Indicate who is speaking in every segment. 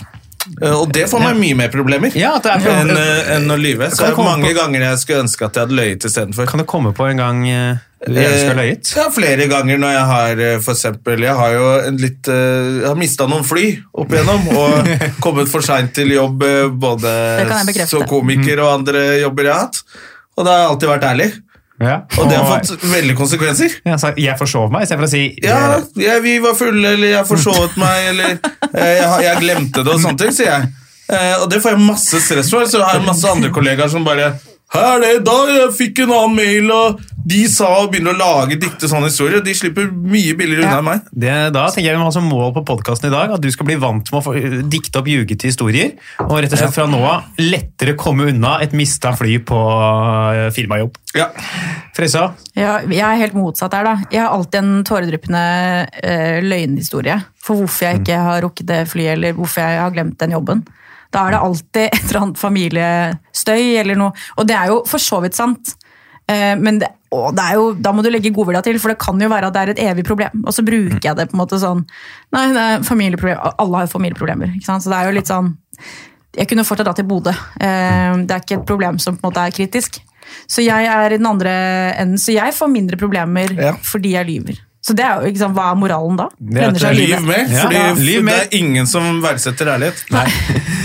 Speaker 1: Eh, og det får meg mye mer problemer
Speaker 2: Ja, at det er
Speaker 1: enn
Speaker 2: problem-
Speaker 1: eh, enn å lyve. Så
Speaker 2: Kan
Speaker 1: det
Speaker 2: jeg
Speaker 1: er
Speaker 2: komme
Speaker 1: mange
Speaker 2: på-
Speaker 1: ganger jeg skulle ønske at jeg hadde løyet istedenfor.
Speaker 2: Kan du komme på en gang eh, du gjerne skulle ha løyet?
Speaker 1: Ja, flere ganger når jeg har eh, for eksempel, Jeg har jo en litt eh, Jeg har mista noen fly opp igjennom og kommet for seint til jobb eh, både
Speaker 3: Det kan jeg bekrefte.
Speaker 1: som komiker og andre jobber jeg har hatt. Og da har jeg alltid vært ærlig.
Speaker 2: Ja.
Speaker 1: Og det har fått veldig konsekvenser.
Speaker 2: Ja, så jeg forsov meg, istedenfor å si eh,
Speaker 1: Ja, jeg, vi var fulle, eller jeg forsovet meg, eller eh, jeg, har- jeg glemte det, og sånne ting, sier jeg. Eh, og det får jeg masse stress for. Så har jeg masse andre kollegaer som bare her er det, da jeg fikk en annen mail, og de sa og begynner å lage dikte sånne historier. og De slipper mye billigere unna
Speaker 3: Ja.
Speaker 1: enn meg.
Speaker 2: Det, da tenker jeg vi må ha som mål på podkasten i dag at du skal bli vant med å få, eh, dikte opp ljugete historier. Og rett og slett fra nå av lettere komme unna et mista fly på eh, firmajobb.
Speaker 1: Ja.
Speaker 2: Frøysa,
Speaker 3: Ja, jeg er helt motsatt her, da. Jeg har alltid en tåredryppende eh, løgnhistorie for hvorfor jeg ikke har rukket det flyet, eller hvorfor jeg har glemt den jobben. Da er det alltid et eller annet familiestøy eller noe. Og det er jo for så vidt sant. Eh, men det, og det er jo, da må du legge godvilja til, for det kan jo være at det er et evig problem. Og så bruker jeg det på en måte sånn Nei, det er familieproblem. Alle har jo familieproblemer, ikke sant. Så det er jo litt sånn jeg kunne fortsatt dra til Bodø. Eh, Det er ikke et problem som på en måte er kritisk. Så jeg er i den andre enden, så jeg får mindre problemer
Speaker 1: Ja.
Speaker 3: fordi jeg lyver. Så det er jo, ikke sant, Hva er moralen da?
Speaker 2: er at
Speaker 3: Lønner seg å
Speaker 1: Lyv
Speaker 3: lyve.
Speaker 1: mer,
Speaker 2: Ja.
Speaker 1: fordi
Speaker 2: Ja, lyv mer.
Speaker 1: det er ingen som verdsetter ærlighet.
Speaker 2: Nei.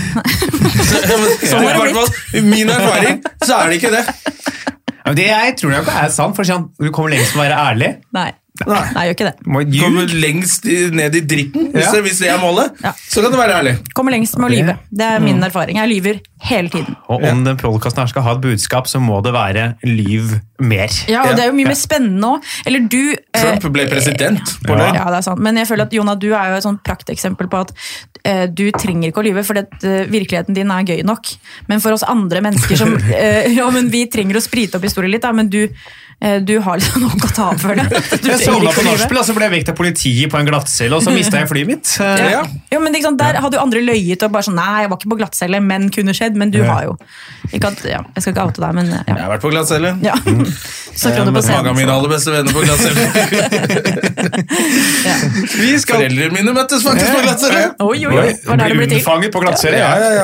Speaker 1: Så, så,
Speaker 3: har det
Speaker 1: i hvert fall, I min erfaring så er det ikke det.
Speaker 2: Ja, men Det jeg tror jeg ikke er sant, for å si han- du kommer sånn, lengst med å være ærlig.
Speaker 3: Nei.
Speaker 1: Nei.
Speaker 3: Nei, gjør ikke det.
Speaker 2: Må
Speaker 1: Kommer
Speaker 2: ljuge.
Speaker 1: lengst i- ned i dritten, hvis,
Speaker 2: Ja.
Speaker 1: det, hvis det er målet,
Speaker 3: Ja.
Speaker 1: så kan det være ærlig.
Speaker 3: Kommer lengst med
Speaker 2: Ok.
Speaker 3: å lyve. Det er min erfaring. Jeg lyver hele tiden.
Speaker 2: Og om den podkasten her skal ha et budskap, så må det være lyv mer.
Speaker 3: Ja, og
Speaker 1: Ja.
Speaker 3: det er jo mye mer spennende òg. Eller du eh,
Speaker 1: Trump ble president. på
Speaker 2: Ja.
Speaker 1: løgn.
Speaker 3: Ja, det er sant. Men jeg føler at Jonah, du er jo et sånt prakteksempel på at eh, du trenger ikke å lyve, for det, eh, virkeligheten din er gøy nok. Men for oss andre mennesker som eh, Ja, men vi trenger å sprite opp historien litt, da, men du, eh, du har liksom nok å ta av for det. Du
Speaker 2: Jeg
Speaker 3: trenger
Speaker 2: sovna
Speaker 3: ikke
Speaker 2: på
Speaker 3: å lyve.
Speaker 2: nachspiel, altså, og så ble jeg vekt av politiet på en glattcelle, og så mista jeg flyet mitt. Eh,
Speaker 1: Ja.
Speaker 3: Jo, men ikke sant, Der hadde jo andre løyet og bare sånn Nei, jeg var ikke på glattcelle, men kunne skjedd. Men du
Speaker 2: Ja.
Speaker 3: har jo ikke at, ja, Jeg skal ikke oute deg, men eh,
Speaker 1: Jeg
Speaker 3: ja.
Speaker 1: har vært på glattcelle.
Speaker 3: ja.
Speaker 2: Mm.
Speaker 3: Snakker
Speaker 2: Eh,
Speaker 3: om det på
Speaker 1: Med mange av mine
Speaker 3: scenen.
Speaker 1: aller beste venner på glattcelle.
Speaker 3: Ja.
Speaker 2: Vi skal
Speaker 1: Foreldrene mine møttes faktisk på glattcelle.
Speaker 3: Oi, oi, oi.
Speaker 2: Oi,
Speaker 3: Var der det ble
Speaker 2: ble
Speaker 3: til?
Speaker 2: unnfanget på glattcelle.
Speaker 1: Ja,
Speaker 2: Ja.
Speaker 1: ja,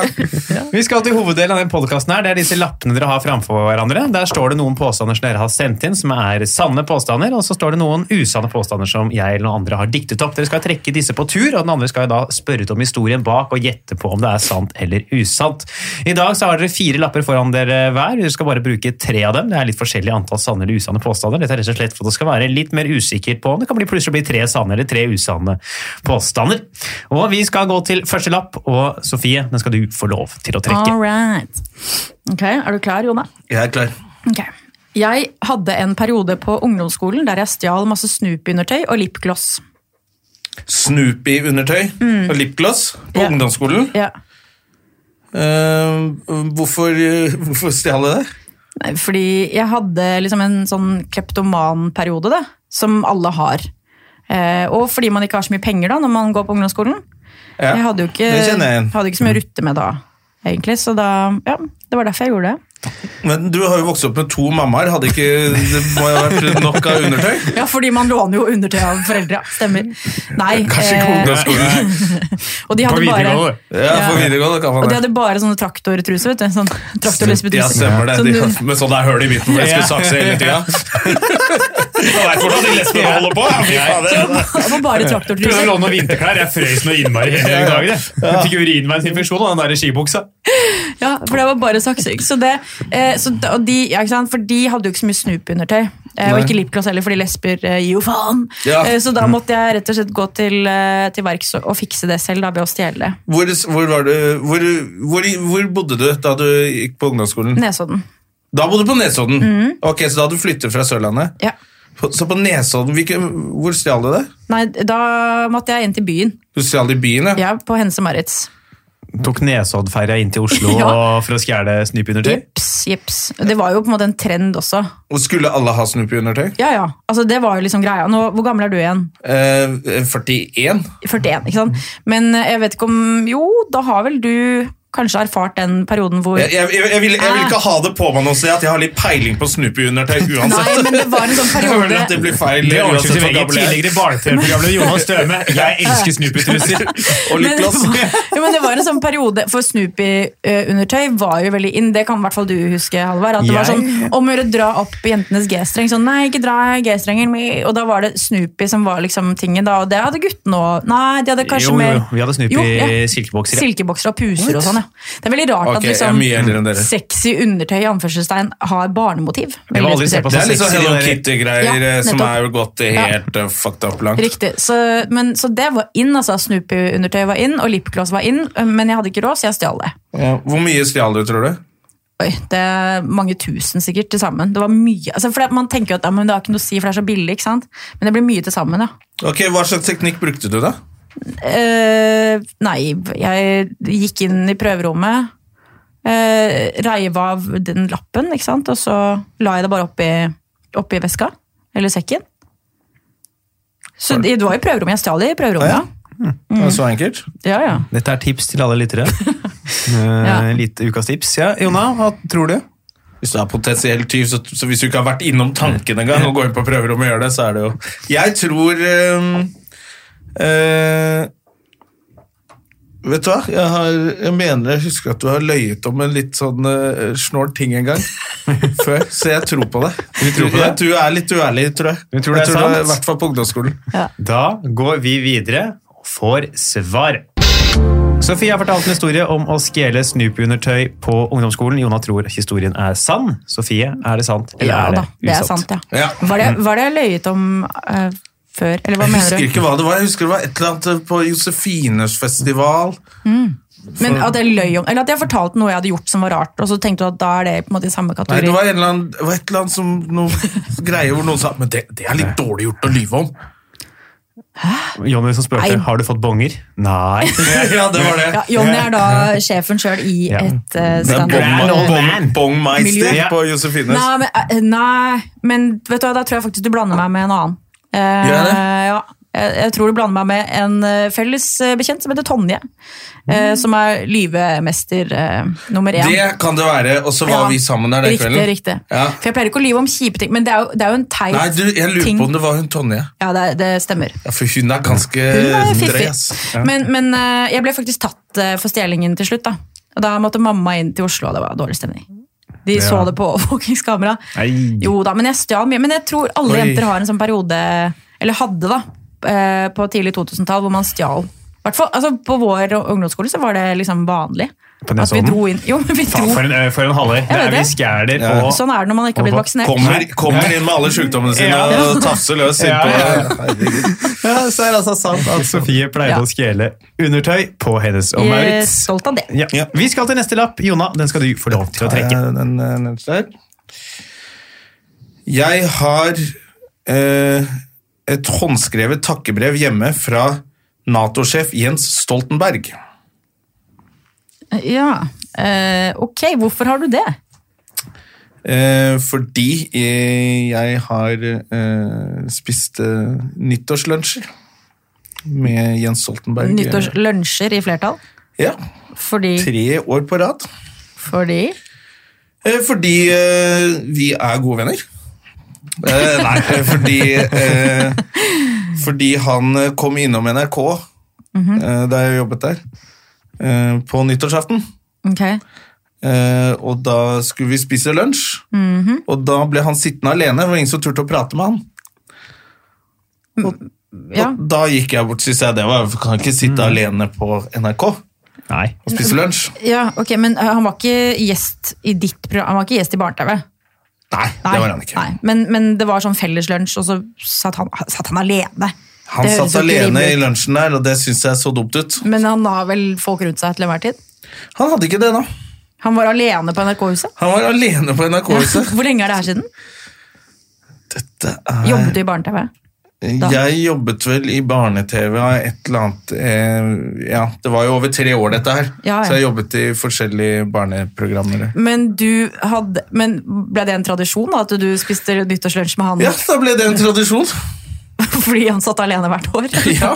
Speaker 1: ja.
Speaker 2: Vi skal til hoveddelen av den podcasten her. Det er disse lappene dere har framfor hverandre. Der står det noen påstander som dere har sendt inn, som er sanne påstander, og så står det noen usanne påstander som jeg eller noen andre har diktet opp. Dere skal trekke disse på tur, og den andre skal jo da spørre ut om historien bak og gjette på om det er sant eller usant. I dag så har dere fire lapper foran dere hver. Dere skal bare bruke tre av dem. Det er litt forskjellig antall sanne eller usanne påstander. Dette er rett og slett for at det skal være litt mer usikker på om det kan bli plutselig bli tre sanne eller tre usanne påstander. Og vi skal gå til første lapp, og Sofie, den skal du få lov til å trekke.
Speaker 1: Ah.
Speaker 3: All right. Ok, Er du klar, Jonah?
Speaker 1: Jeg er klar.
Speaker 3: Ok. Jeg hadde en periode på ungdomsskolen der jeg stjal masse Snoopy-undertøy og lipgloss.
Speaker 1: Snoopy-undertøy og lipgloss på
Speaker 3: Mm. Ja.
Speaker 1: ungdomsskolen.
Speaker 3: Ja.
Speaker 1: Eh, hvorfor, hvorfor stjal jeg det?
Speaker 3: Nei, Fordi jeg hadde liksom en sånn kleptoman-periode, da, som alle har. Eh, og fordi man ikke har så mye penger da, når man går på ungdomsskolen.
Speaker 1: Ja.
Speaker 3: Jeg hadde jo ikke,
Speaker 1: Det kjenner jeg igjen.
Speaker 3: hadde ikke så mye å rutte med da, egentlig. Så da, ja, det var derfor jeg gjorde det.
Speaker 1: Men du har jo vokst opp med to mammaer. Hadde ikke, det må jo ha vært nok av undertøy?
Speaker 3: Ja, fordi man låner jo undertøy av foreldre. Stemmer. Nei.
Speaker 1: Kanskje ikke
Speaker 3: Eh,
Speaker 1: ungdomsskolen.
Speaker 3: og de
Speaker 2: På
Speaker 3: hadde bare...
Speaker 2: videregående.
Speaker 1: Ja, på videregående
Speaker 3: Og
Speaker 1: kan man
Speaker 3: de
Speaker 1: det.
Speaker 3: hadde bare sånne traktortruser, vet du. Sånn
Speaker 1: Ja,
Speaker 3: traktorlesbetruser.
Speaker 1: stemmer det.
Speaker 3: Sånn
Speaker 1: De,
Speaker 3: du-
Speaker 1: med sånn der høl i midten, for jeg skulle
Speaker 2: Ja.
Speaker 1: sakse hele tida. Jeg veit hvordan de lesbene holder på! ja, fy fader.
Speaker 3: Det var bare
Speaker 2: Prøvde å
Speaker 3: traktortruser.
Speaker 2: låne noen vinterklær. Jeg frøs noe innmari hele dagen. jeg. Jeg fikk urinveisinfeksjon av den der skibuksa.
Speaker 3: Ja, for det var bare saksing. Så det, eh, så, da- og de, ja, ikke sant? For de hadde jo ikke så mye Snoop-undertøy. Eh, og
Speaker 1: Nei.
Speaker 3: ikke lipgloss heller, fordi lesber eh, gir jo faen.
Speaker 1: Ja.
Speaker 3: Eh, så da måtte jeg rett og slett gå til, eh, til verks og, og fikse det selv da, ved å stjele det.
Speaker 1: Hvor, hvor, var du, hvor, hvor, hvor bodde du da du gikk på ungdomsskolen?
Speaker 3: Nesodden.
Speaker 1: Da bodde du på Nesodden. Ok, Så da hadde du flyttet fra Sørlandet.
Speaker 3: Ja.
Speaker 1: På- Så på Nesodden, hvilke, hvor stjal du det?
Speaker 3: Nei, da måtte jeg inn til byen.
Speaker 1: Du stjal det i byen, ja?
Speaker 3: Ja, på Hense Maritz.
Speaker 2: Tok Nesoddferja inn til Oslo
Speaker 3: Ja.
Speaker 2: og- for å stjele snypindertøy.
Speaker 3: Jips, jips. Det var jo på en måte en trend også.
Speaker 1: Og skulle alle ha Snoopy-undertøy?
Speaker 3: Ja, ja. Altså, det var jo liksom greia. Nå, hvor gammel er du igjen?
Speaker 1: Eh, 41?
Speaker 3: 41, ikke sant?
Speaker 2: Mm.
Speaker 3: Men eh, jeg vet ikke om Jo, da har vel du kanskje erfart den perioden hvor
Speaker 1: Jeg, jeg, jeg, jeg, vil, jeg vil ikke ha det på meg nå, så at jeg har litt peiling på Snoopy-undertøy uansett.
Speaker 3: Nei, men det var en sånn
Speaker 1: Jeg føler at
Speaker 3: periode
Speaker 1: det blir feil eh,
Speaker 2: Det overskrives
Speaker 1: uansett
Speaker 2: i
Speaker 1: hvor
Speaker 2: VG
Speaker 1: gammel jeg er.
Speaker 2: tidligere barne-TV-programmet Jonas Støme. Jeg elsker snupetruser.
Speaker 1: Og litt
Speaker 3: Men det
Speaker 1: glass.
Speaker 3: var- Jo, men det var en sånn periode, for Snoopy-undertøy var jo veldig inn. Det kan i hvert fall du huske, Halvard. At det var
Speaker 2: Jeg-
Speaker 3: sånn om å gjøre dra opp jentenes G-streng. Sånn nei, ikke dra G-strengen min. Og da var det Snoopy som var liksom tingen, da. Og det hadde guttene òg. Nei, de hadde
Speaker 2: Jo,
Speaker 3: kanskje
Speaker 2: jo,
Speaker 3: mer
Speaker 2: vi hadde Snoopy
Speaker 3: Jo, ja.
Speaker 2: silkebokser, ja.
Speaker 3: Silkebokser og puser og sånn, ja. Det er veldig rart
Speaker 1: Ok, jeg
Speaker 3: at
Speaker 1: er
Speaker 3: liksom
Speaker 1: mye eldre enn dere.
Speaker 3: sexy undertøy i anførselstegn har barnemotiv.
Speaker 2: Jeg må
Speaker 3: Veldig
Speaker 2: aldri se
Speaker 3: spesielt.
Speaker 2: på
Speaker 1: Det
Speaker 2: så
Speaker 1: er litt sånn
Speaker 2: sexy.
Speaker 1: Hello
Speaker 2: de der-
Speaker 1: Kitty-greier
Speaker 3: Ja,
Speaker 1: eh, som
Speaker 3: nettopp.
Speaker 1: er gått helt eh, fucked up langt.
Speaker 3: Riktig. Så, men, så det var inn. altså Snoopy-undertøy var inn, og lipgloss var inn. Men jeg hadde ikke råd, så jeg stjal det.
Speaker 1: Ja, Hvor mye stjal du, tror du?
Speaker 3: Oi, det er mange tusen sikkert til sammen. Det var mye. Altså, for det, man tenker jo at ja, men det har ikke noe å si, for det er så billig. ikke sant? Men det blir mye til sammen, ja.
Speaker 1: Ok, Hva slags teknikk brukte du, da?
Speaker 3: Eh, nei, jeg gikk inn i prøverommet, eh, reiv av den lappen, ikke sant? og så la jeg det bare oppi, oppi veska. Eller sekken. Så det det var i prøverommet. Jeg stjal det i prøverommet,
Speaker 1: Ja,
Speaker 3: ja. Mm.
Speaker 1: Det var Så enkelt?
Speaker 3: ja, ja.
Speaker 2: Dette er tips til alle lyttere. Eh, Litt ukas tips. Ja, Jonna, hva tror du?
Speaker 1: Hvis du er potensiell tyv, så, så hvis du ikke har vært innom tanken engang og går inn på prøverommet og gjør det, så er det jo Jeg tror ehm, øhm, øh, Vet du hva? Jeg, har, jeg mener jeg husker at du har løyet om en litt sånn øh, snål ting en gang før, så jeg tror på det. Du
Speaker 2: tror på det?
Speaker 1: Jeg tror jeg er litt uærlig, tror jeg.
Speaker 2: Du tror det
Speaker 1: jeg
Speaker 2: er
Speaker 1: tror
Speaker 2: sant?
Speaker 1: I hvert fall på ungdomsskolen.
Speaker 2: Da går vi videre og får svar. Sofie har fortalt en historie om å stjele Snoopy-undertøy på ungdomsskolen. Jonna tror historien er sann. Sofie, er det sant eller
Speaker 3: Ja
Speaker 2: er det
Speaker 3: da, det er
Speaker 2: usant?
Speaker 3: sant, ja.
Speaker 1: Ja.
Speaker 3: Var det, var det jeg løyet om eh, før? Eller hva
Speaker 1: Jeg
Speaker 3: mener
Speaker 1: husker
Speaker 3: du?
Speaker 1: ikke hva det var. Jeg husker det var et eller annet på Josefines festival.
Speaker 3: Men at jeg løy om, eller at jeg fortalte noe jeg hadde gjort som var rart, og så tenkte du at da er det på en måte i samme
Speaker 1: Nei,
Speaker 3: kategori?
Speaker 1: det var, en eller annen, det var et eller annet som noe greie hvor noen sa Men det, det er litt dårlig gjort å lyve om.
Speaker 2: Jonny som spurte
Speaker 3: Nei.
Speaker 2: har du fått bonger. Nei.
Speaker 1: Ja, det var det.
Speaker 3: ja, Jonny er da sjefen sjøl i
Speaker 2: Ja.
Speaker 3: et uh,
Speaker 1: Det er
Speaker 3: standup.
Speaker 2: Grand
Speaker 1: Bong,
Speaker 2: old
Speaker 1: bong,
Speaker 2: man.
Speaker 1: bong Meister
Speaker 2: Miljø.
Speaker 1: på Josefines.
Speaker 3: Nei men, eh, nei, men vet du hva, da tror jeg faktisk du blander meg med en annen. Eh,
Speaker 1: Gjør jeg det?
Speaker 3: ja, jeg, jeg tror du blander meg med en eh, felles eh, bekjent som heter Tonje. eh, Som er lyvemester eh, nummer én.
Speaker 1: Mm. Det kan det være. Og så var
Speaker 3: Ja.
Speaker 1: vi sammen der den
Speaker 3: riktig,
Speaker 1: kvelden.
Speaker 3: Riktig.
Speaker 1: Ja.
Speaker 3: For jeg pleier ikke å lyve om kjipe ting, men det er jo, det er jo en teit
Speaker 1: Nei, du, jeg lurer
Speaker 3: ting.
Speaker 1: på om det var hun Tonje.
Speaker 3: Ja, det, er- det stemmer.
Speaker 1: Ja, for hun er ganske
Speaker 3: Hun
Speaker 2: Eh,
Speaker 3: er
Speaker 1: drøy,
Speaker 3: fiffig.
Speaker 1: ass.
Speaker 3: Men, men eh, jeg ble faktisk tatt eh, for stjelingen til slutt. Da Og da måtte mamma inn til Oslo, og det var dårlig stemning. De så det på overvåkingskamera.
Speaker 2: Nei.
Speaker 3: Jo da, men jeg stjal mye. Men jeg tror alle
Speaker 1: Oi.
Speaker 3: jenter har en sånn periode, eller hadde da, eh, på tidlig 2000-tall, hvor man stjal. Hvertfall, altså, på vår ungdomsskole så var det liksom vanlig.
Speaker 2: På
Speaker 3: At vi
Speaker 2: Nesodden?
Speaker 3: dro inn Jo, men vi
Speaker 2: Faen,
Speaker 3: dro
Speaker 2: for en, ø, for en halvøy. Det
Speaker 3: vet
Speaker 2: er
Speaker 3: det.
Speaker 2: viskjæler
Speaker 1: Ja.
Speaker 2: og
Speaker 3: Sånn er det når man ikke har blitt
Speaker 2: Og hva-
Speaker 3: vaksinert.
Speaker 1: Kommer, kommer inn med alle sykdommene sine
Speaker 2: Ja.
Speaker 1: og tafser løs
Speaker 2: Ja, ja.
Speaker 1: innpå.
Speaker 2: ja, Så er det altså sant at Sofie pleide
Speaker 3: Ja.
Speaker 2: å stjele undertøy på Hennes og
Speaker 3: Jeg er
Speaker 2: Maurits.
Speaker 3: Eh, stolt av det.
Speaker 2: Ja.
Speaker 1: Ja.
Speaker 2: Vi skal til neste lapp. Jona, den skal du få lov til å trekke.
Speaker 1: Ja, den, eh, nederst der. Jeg har eh, et håndskrevet takkebrev hjemme fra Nato-sjef Jens Stoltenberg.
Speaker 3: Ja. Eh, ok, hvorfor har du det?
Speaker 1: Eh, fordi eh, jeg har eh, spist eh, nyttårslunsjer med Jens Stoltenberg.
Speaker 3: Nyttårslunsjer i flertall?
Speaker 1: Ja,
Speaker 3: Fordi,
Speaker 1: tre år på rad.
Speaker 3: fordi
Speaker 1: Eh, Fordi eh, vi er gode venner. Eh, nei, eh, fordi eh, Fordi han eh, kom innom NRK
Speaker 3: Mhm.
Speaker 1: eh, da jeg jobbet der, eh, på nyttårsaften.
Speaker 3: Ok.
Speaker 1: Eh, og da skulle vi spise lunsj,
Speaker 3: Mhm.
Speaker 1: og da ble han sittende alene. Det var ingen som turte å prate med han.
Speaker 3: Ja.
Speaker 1: Og da gikk jeg bort og sa det var, kan ikke sitte alene på NRK og
Speaker 2: Nei.
Speaker 1: spise lunsj.
Speaker 3: ja, ok, Men eh, han var ikke gjest i ditt program? Han var ikke gjest i Barne-TV?
Speaker 1: Nei,
Speaker 3: Nei,
Speaker 1: det var han ikke.
Speaker 3: Nei. Men, men det var sånn felleslunsj, og så satt han, satt han alene.
Speaker 1: Han
Speaker 3: Det høres
Speaker 1: satt
Speaker 3: jo ikke
Speaker 1: alene
Speaker 3: rimelig
Speaker 1: i
Speaker 3: ut.
Speaker 1: lunsjen der, og det syns jeg så dumt ut.
Speaker 3: Men han har vel folk rundt seg til enhver tid?
Speaker 1: Han hadde ikke det, da.
Speaker 3: Han var alene på NRK-huset?
Speaker 1: Han var alene på NRK-huset.
Speaker 3: Hvor lenge er det her siden?
Speaker 1: Dette er
Speaker 3: Jobbet du i Barne-TV? da?
Speaker 1: Jeg jobbet vel i barne-TV av et eller annet eh, Ja, det var jo over tre år, dette her.
Speaker 3: Ja, ja.
Speaker 1: Så jeg jobbet i forskjellige barneprogrammer.
Speaker 3: Men, du hadde, men ble det en tradisjon da, at du spiste nyttårslunsj med han
Speaker 1: Ja, da ble det en tradisjon.
Speaker 3: fordi han satt alene hvert år?
Speaker 1: Ja.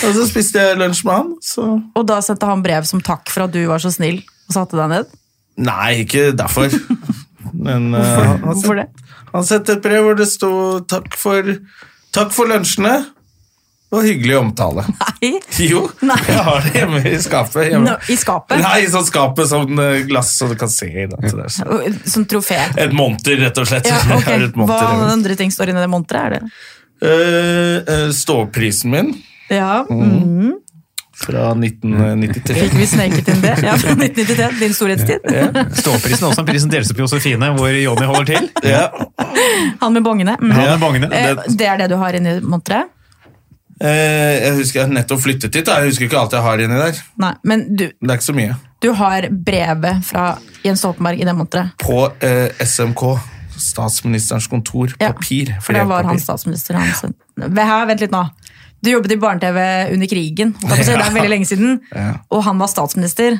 Speaker 1: Og så spiste jeg lunsj med han, så
Speaker 3: Og da sendte han brev som takk for at du var så snill og satte deg ned?
Speaker 1: Nei, ikke derfor. Men eh, han,
Speaker 3: Hvorfor det?
Speaker 1: han sendte et brev hvor det sto takk for, 'Takk for lunsjene'. Og hyggelig omtale.
Speaker 3: Nei.
Speaker 1: Jo,
Speaker 3: Nei.
Speaker 1: jeg har det hjemme i skapet. Hjemme.
Speaker 3: Nå, I skapet?
Speaker 1: Nei, i sånn skapet som eh, glass, så du kan se i det. at det er sånn.
Speaker 3: Som trofé?
Speaker 1: Et monter, rett og slett.
Speaker 3: Ja,
Speaker 1: Jeg
Speaker 3: ok.
Speaker 1: har et monter
Speaker 3: Hva
Speaker 1: hjemme.
Speaker 3: andre ting står inni det monteret? Er det?
Speaker 1: Eh, eh, Ståprisen min
Speaker 3: Ja, mm.
Speaker 1: fra 1993.
Speaker 3: Fikk vi sneket inn det? Ja, fra 1993, din storhetstid.
Speaker 2: Ståprisen er også en pris som deles opp i Josefine, hvor Jonny holder til.
Speaker 1: Ja.
Speaker 3: Han med bongene. Mm.
Speaker 2: Han er bongene.
Speaker 3: Eh,
Speaker 1: det-
Speaker 3: Det er det du har inni monteret?
Speaker 1: Eh, jeg husker jeg nettopp flyttet dit. da. Jeg husker ikke alt jeg har inni der.
Speaker 3: Nei, men du,
Speaker 1: Det er ikke så mye.
Speaker 3: du har brevet fra Jens Stoltenberg i det monteret?
Speaker 1: På eh, SMK, Statsministerens kontor,
Speaker 3: Ja,
Speaker 1: papir.
Speaker 3: For da var
Speaker 1: brevpapir.
Speaker 3: han statsminister. Han sendte- Ve- her, vent litt nå. Du jobbet i barne-TV under krigen. holdt jeg på å si. Det er veldig lenge siden.
Speaker 1: Ja.
Speaker 3: Og han var statsminister.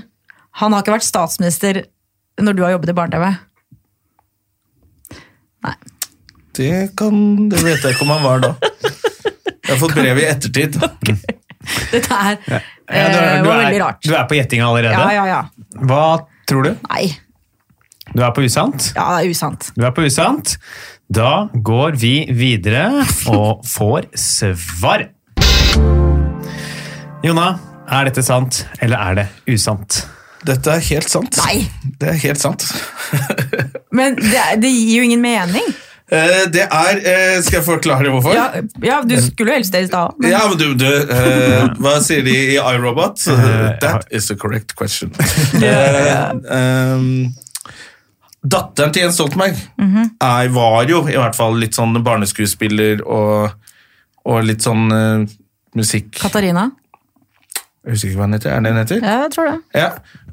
Speaker 3: Han har ikke vært statsminister når du har jobbet i barne-TV. Nei.
Speaker 1: Det, kan, det vet jeg ikke om han var da. Jeg har fått brev i ettertid.
Speaker 3: Dette her
Speaker 2: Ja, du,
Speaker 3: eh,
Speaker 2: er, du,
Speaker 3: var veldig
Speaker 2: er,
Speaker 3: rart.
Speaker 2: du er på gjettinga
Speaker 3: Ja,
Speaker 2: allerede.
Speaker 3: ja, ja.
Speaker 2: Hva tror du?
Speaker 3: Nei.
Speaker 2: Du er på usant?
Speaker 3: Ja, det er usant.
Speaker 2: Du er på usant. Da går vi videre og får svar. Jona, er dette sant, eller er det usant?
Speaker 1: Dette er helt sant.
Speaker 3: Nei.
Speaker 1: Det er helt sant.
Speaker 3: Men det, er- det gir jo ingen mening.
Speaker 1: Eh, Det er eh, Skal jeg forklare hvorfor?
Speaker 3: Ja, ja du skulle jo helst det i stad. men-
Speaker 1: Ja, men du, du eh, Hva sier de i iRobot? Eh, That is the correct question. Eh, ehm, datteren til Jens Stoltenberg er, var jo i hvert fall litt sånn barneskuespiller og og litt sånn eh, musikk
Speaker 3: Katarina?
Speaker 1: Jeg husker ikke hva hun heter. Er det hun heter?
Speaker 3: Ja, jeg tror det.
Speaker 1: Ja.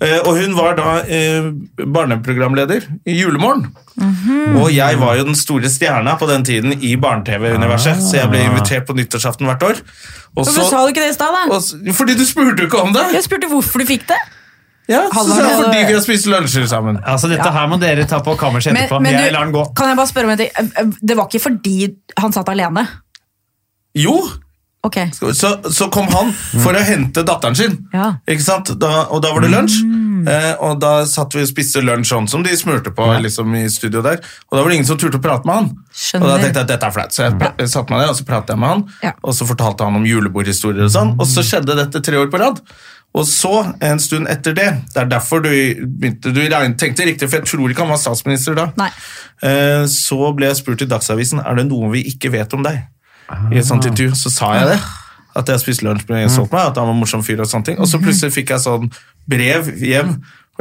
Speaker 1: Eh, Og hun var da eh, barneprogramleder i Julemorgen.
Speaker 3: Mhm.
Speaker 1: Og jeg var jo den store stjerna på den tiden i barne-TV-universet, så jeg ble invitert på nyttårsaften hvert år. Og
Speaker 3: Hvorfor
Speaker 1: så-
Speaker 3: sa Ah. du ikke det i stad, da?
Speaker 1: og s- fordi du spurte jo ikke om det!
Speaker 3: Jeg spurte hvorfor du fikk det.
Speaker 1: Ja, så
Speaker 3: Hallo,
Speaker 1: sa jeg
Speaker 3: hallo.
Speaker 1: fordi vi har spist lunsjer sammen.
Speaker 2: Altså, dette her må dere ta på kammerset
Speaker 3: Men,
Speaker 2: etterpå.
Speaker 3: men
Speaker 2: jeg
Speaker 3: du,
Speaker 2: lar den gå.
Speaker 3: kan jeg bare spørre om en ting? Eh, eh, Det var ikke fordi han satt alene?
Speaker 1: Jo,
Speaker 3: Ok.
Speaker 1: så, så kom han for å hente datteren sin.
Speaker 3: Ja. Mm.
Speaker 1: Ikke sant? Da, og da var det lunsj. Eh, og da satt vi og spiste lunsj sånn som de smurte på liksom, i studio der. Og da var det ingen som turte å prate med han.
Speaker 3: Skjønner.
Speaker 1: Og da tenkte jeg at dette er flaut. Så jeg pra- satt meg ned, og så pratet jeg med han.
Speaker 3: Ja.
Speaker 1: Og så fortalte han om julebordhistorier og sånn. Og så skjedde dette tre år på rad. Og så, en stund etter det Det er derfor du, begynte, du regn- tenkte riktig, for jeg tror ikke han var statsminister da.
Speaker 3: Nei.
Speaker 1: Eh, så ble jeg spurt i Dagsavisen er det noe vi ikke vet om deg. I et sånt intervju så sa jeg det. At jeg spiste lunsj med Jens Stoltenberg, at han var en morsom fyr. Og sånne ting. Og så plutselig fikk jeg sånn brev hjem.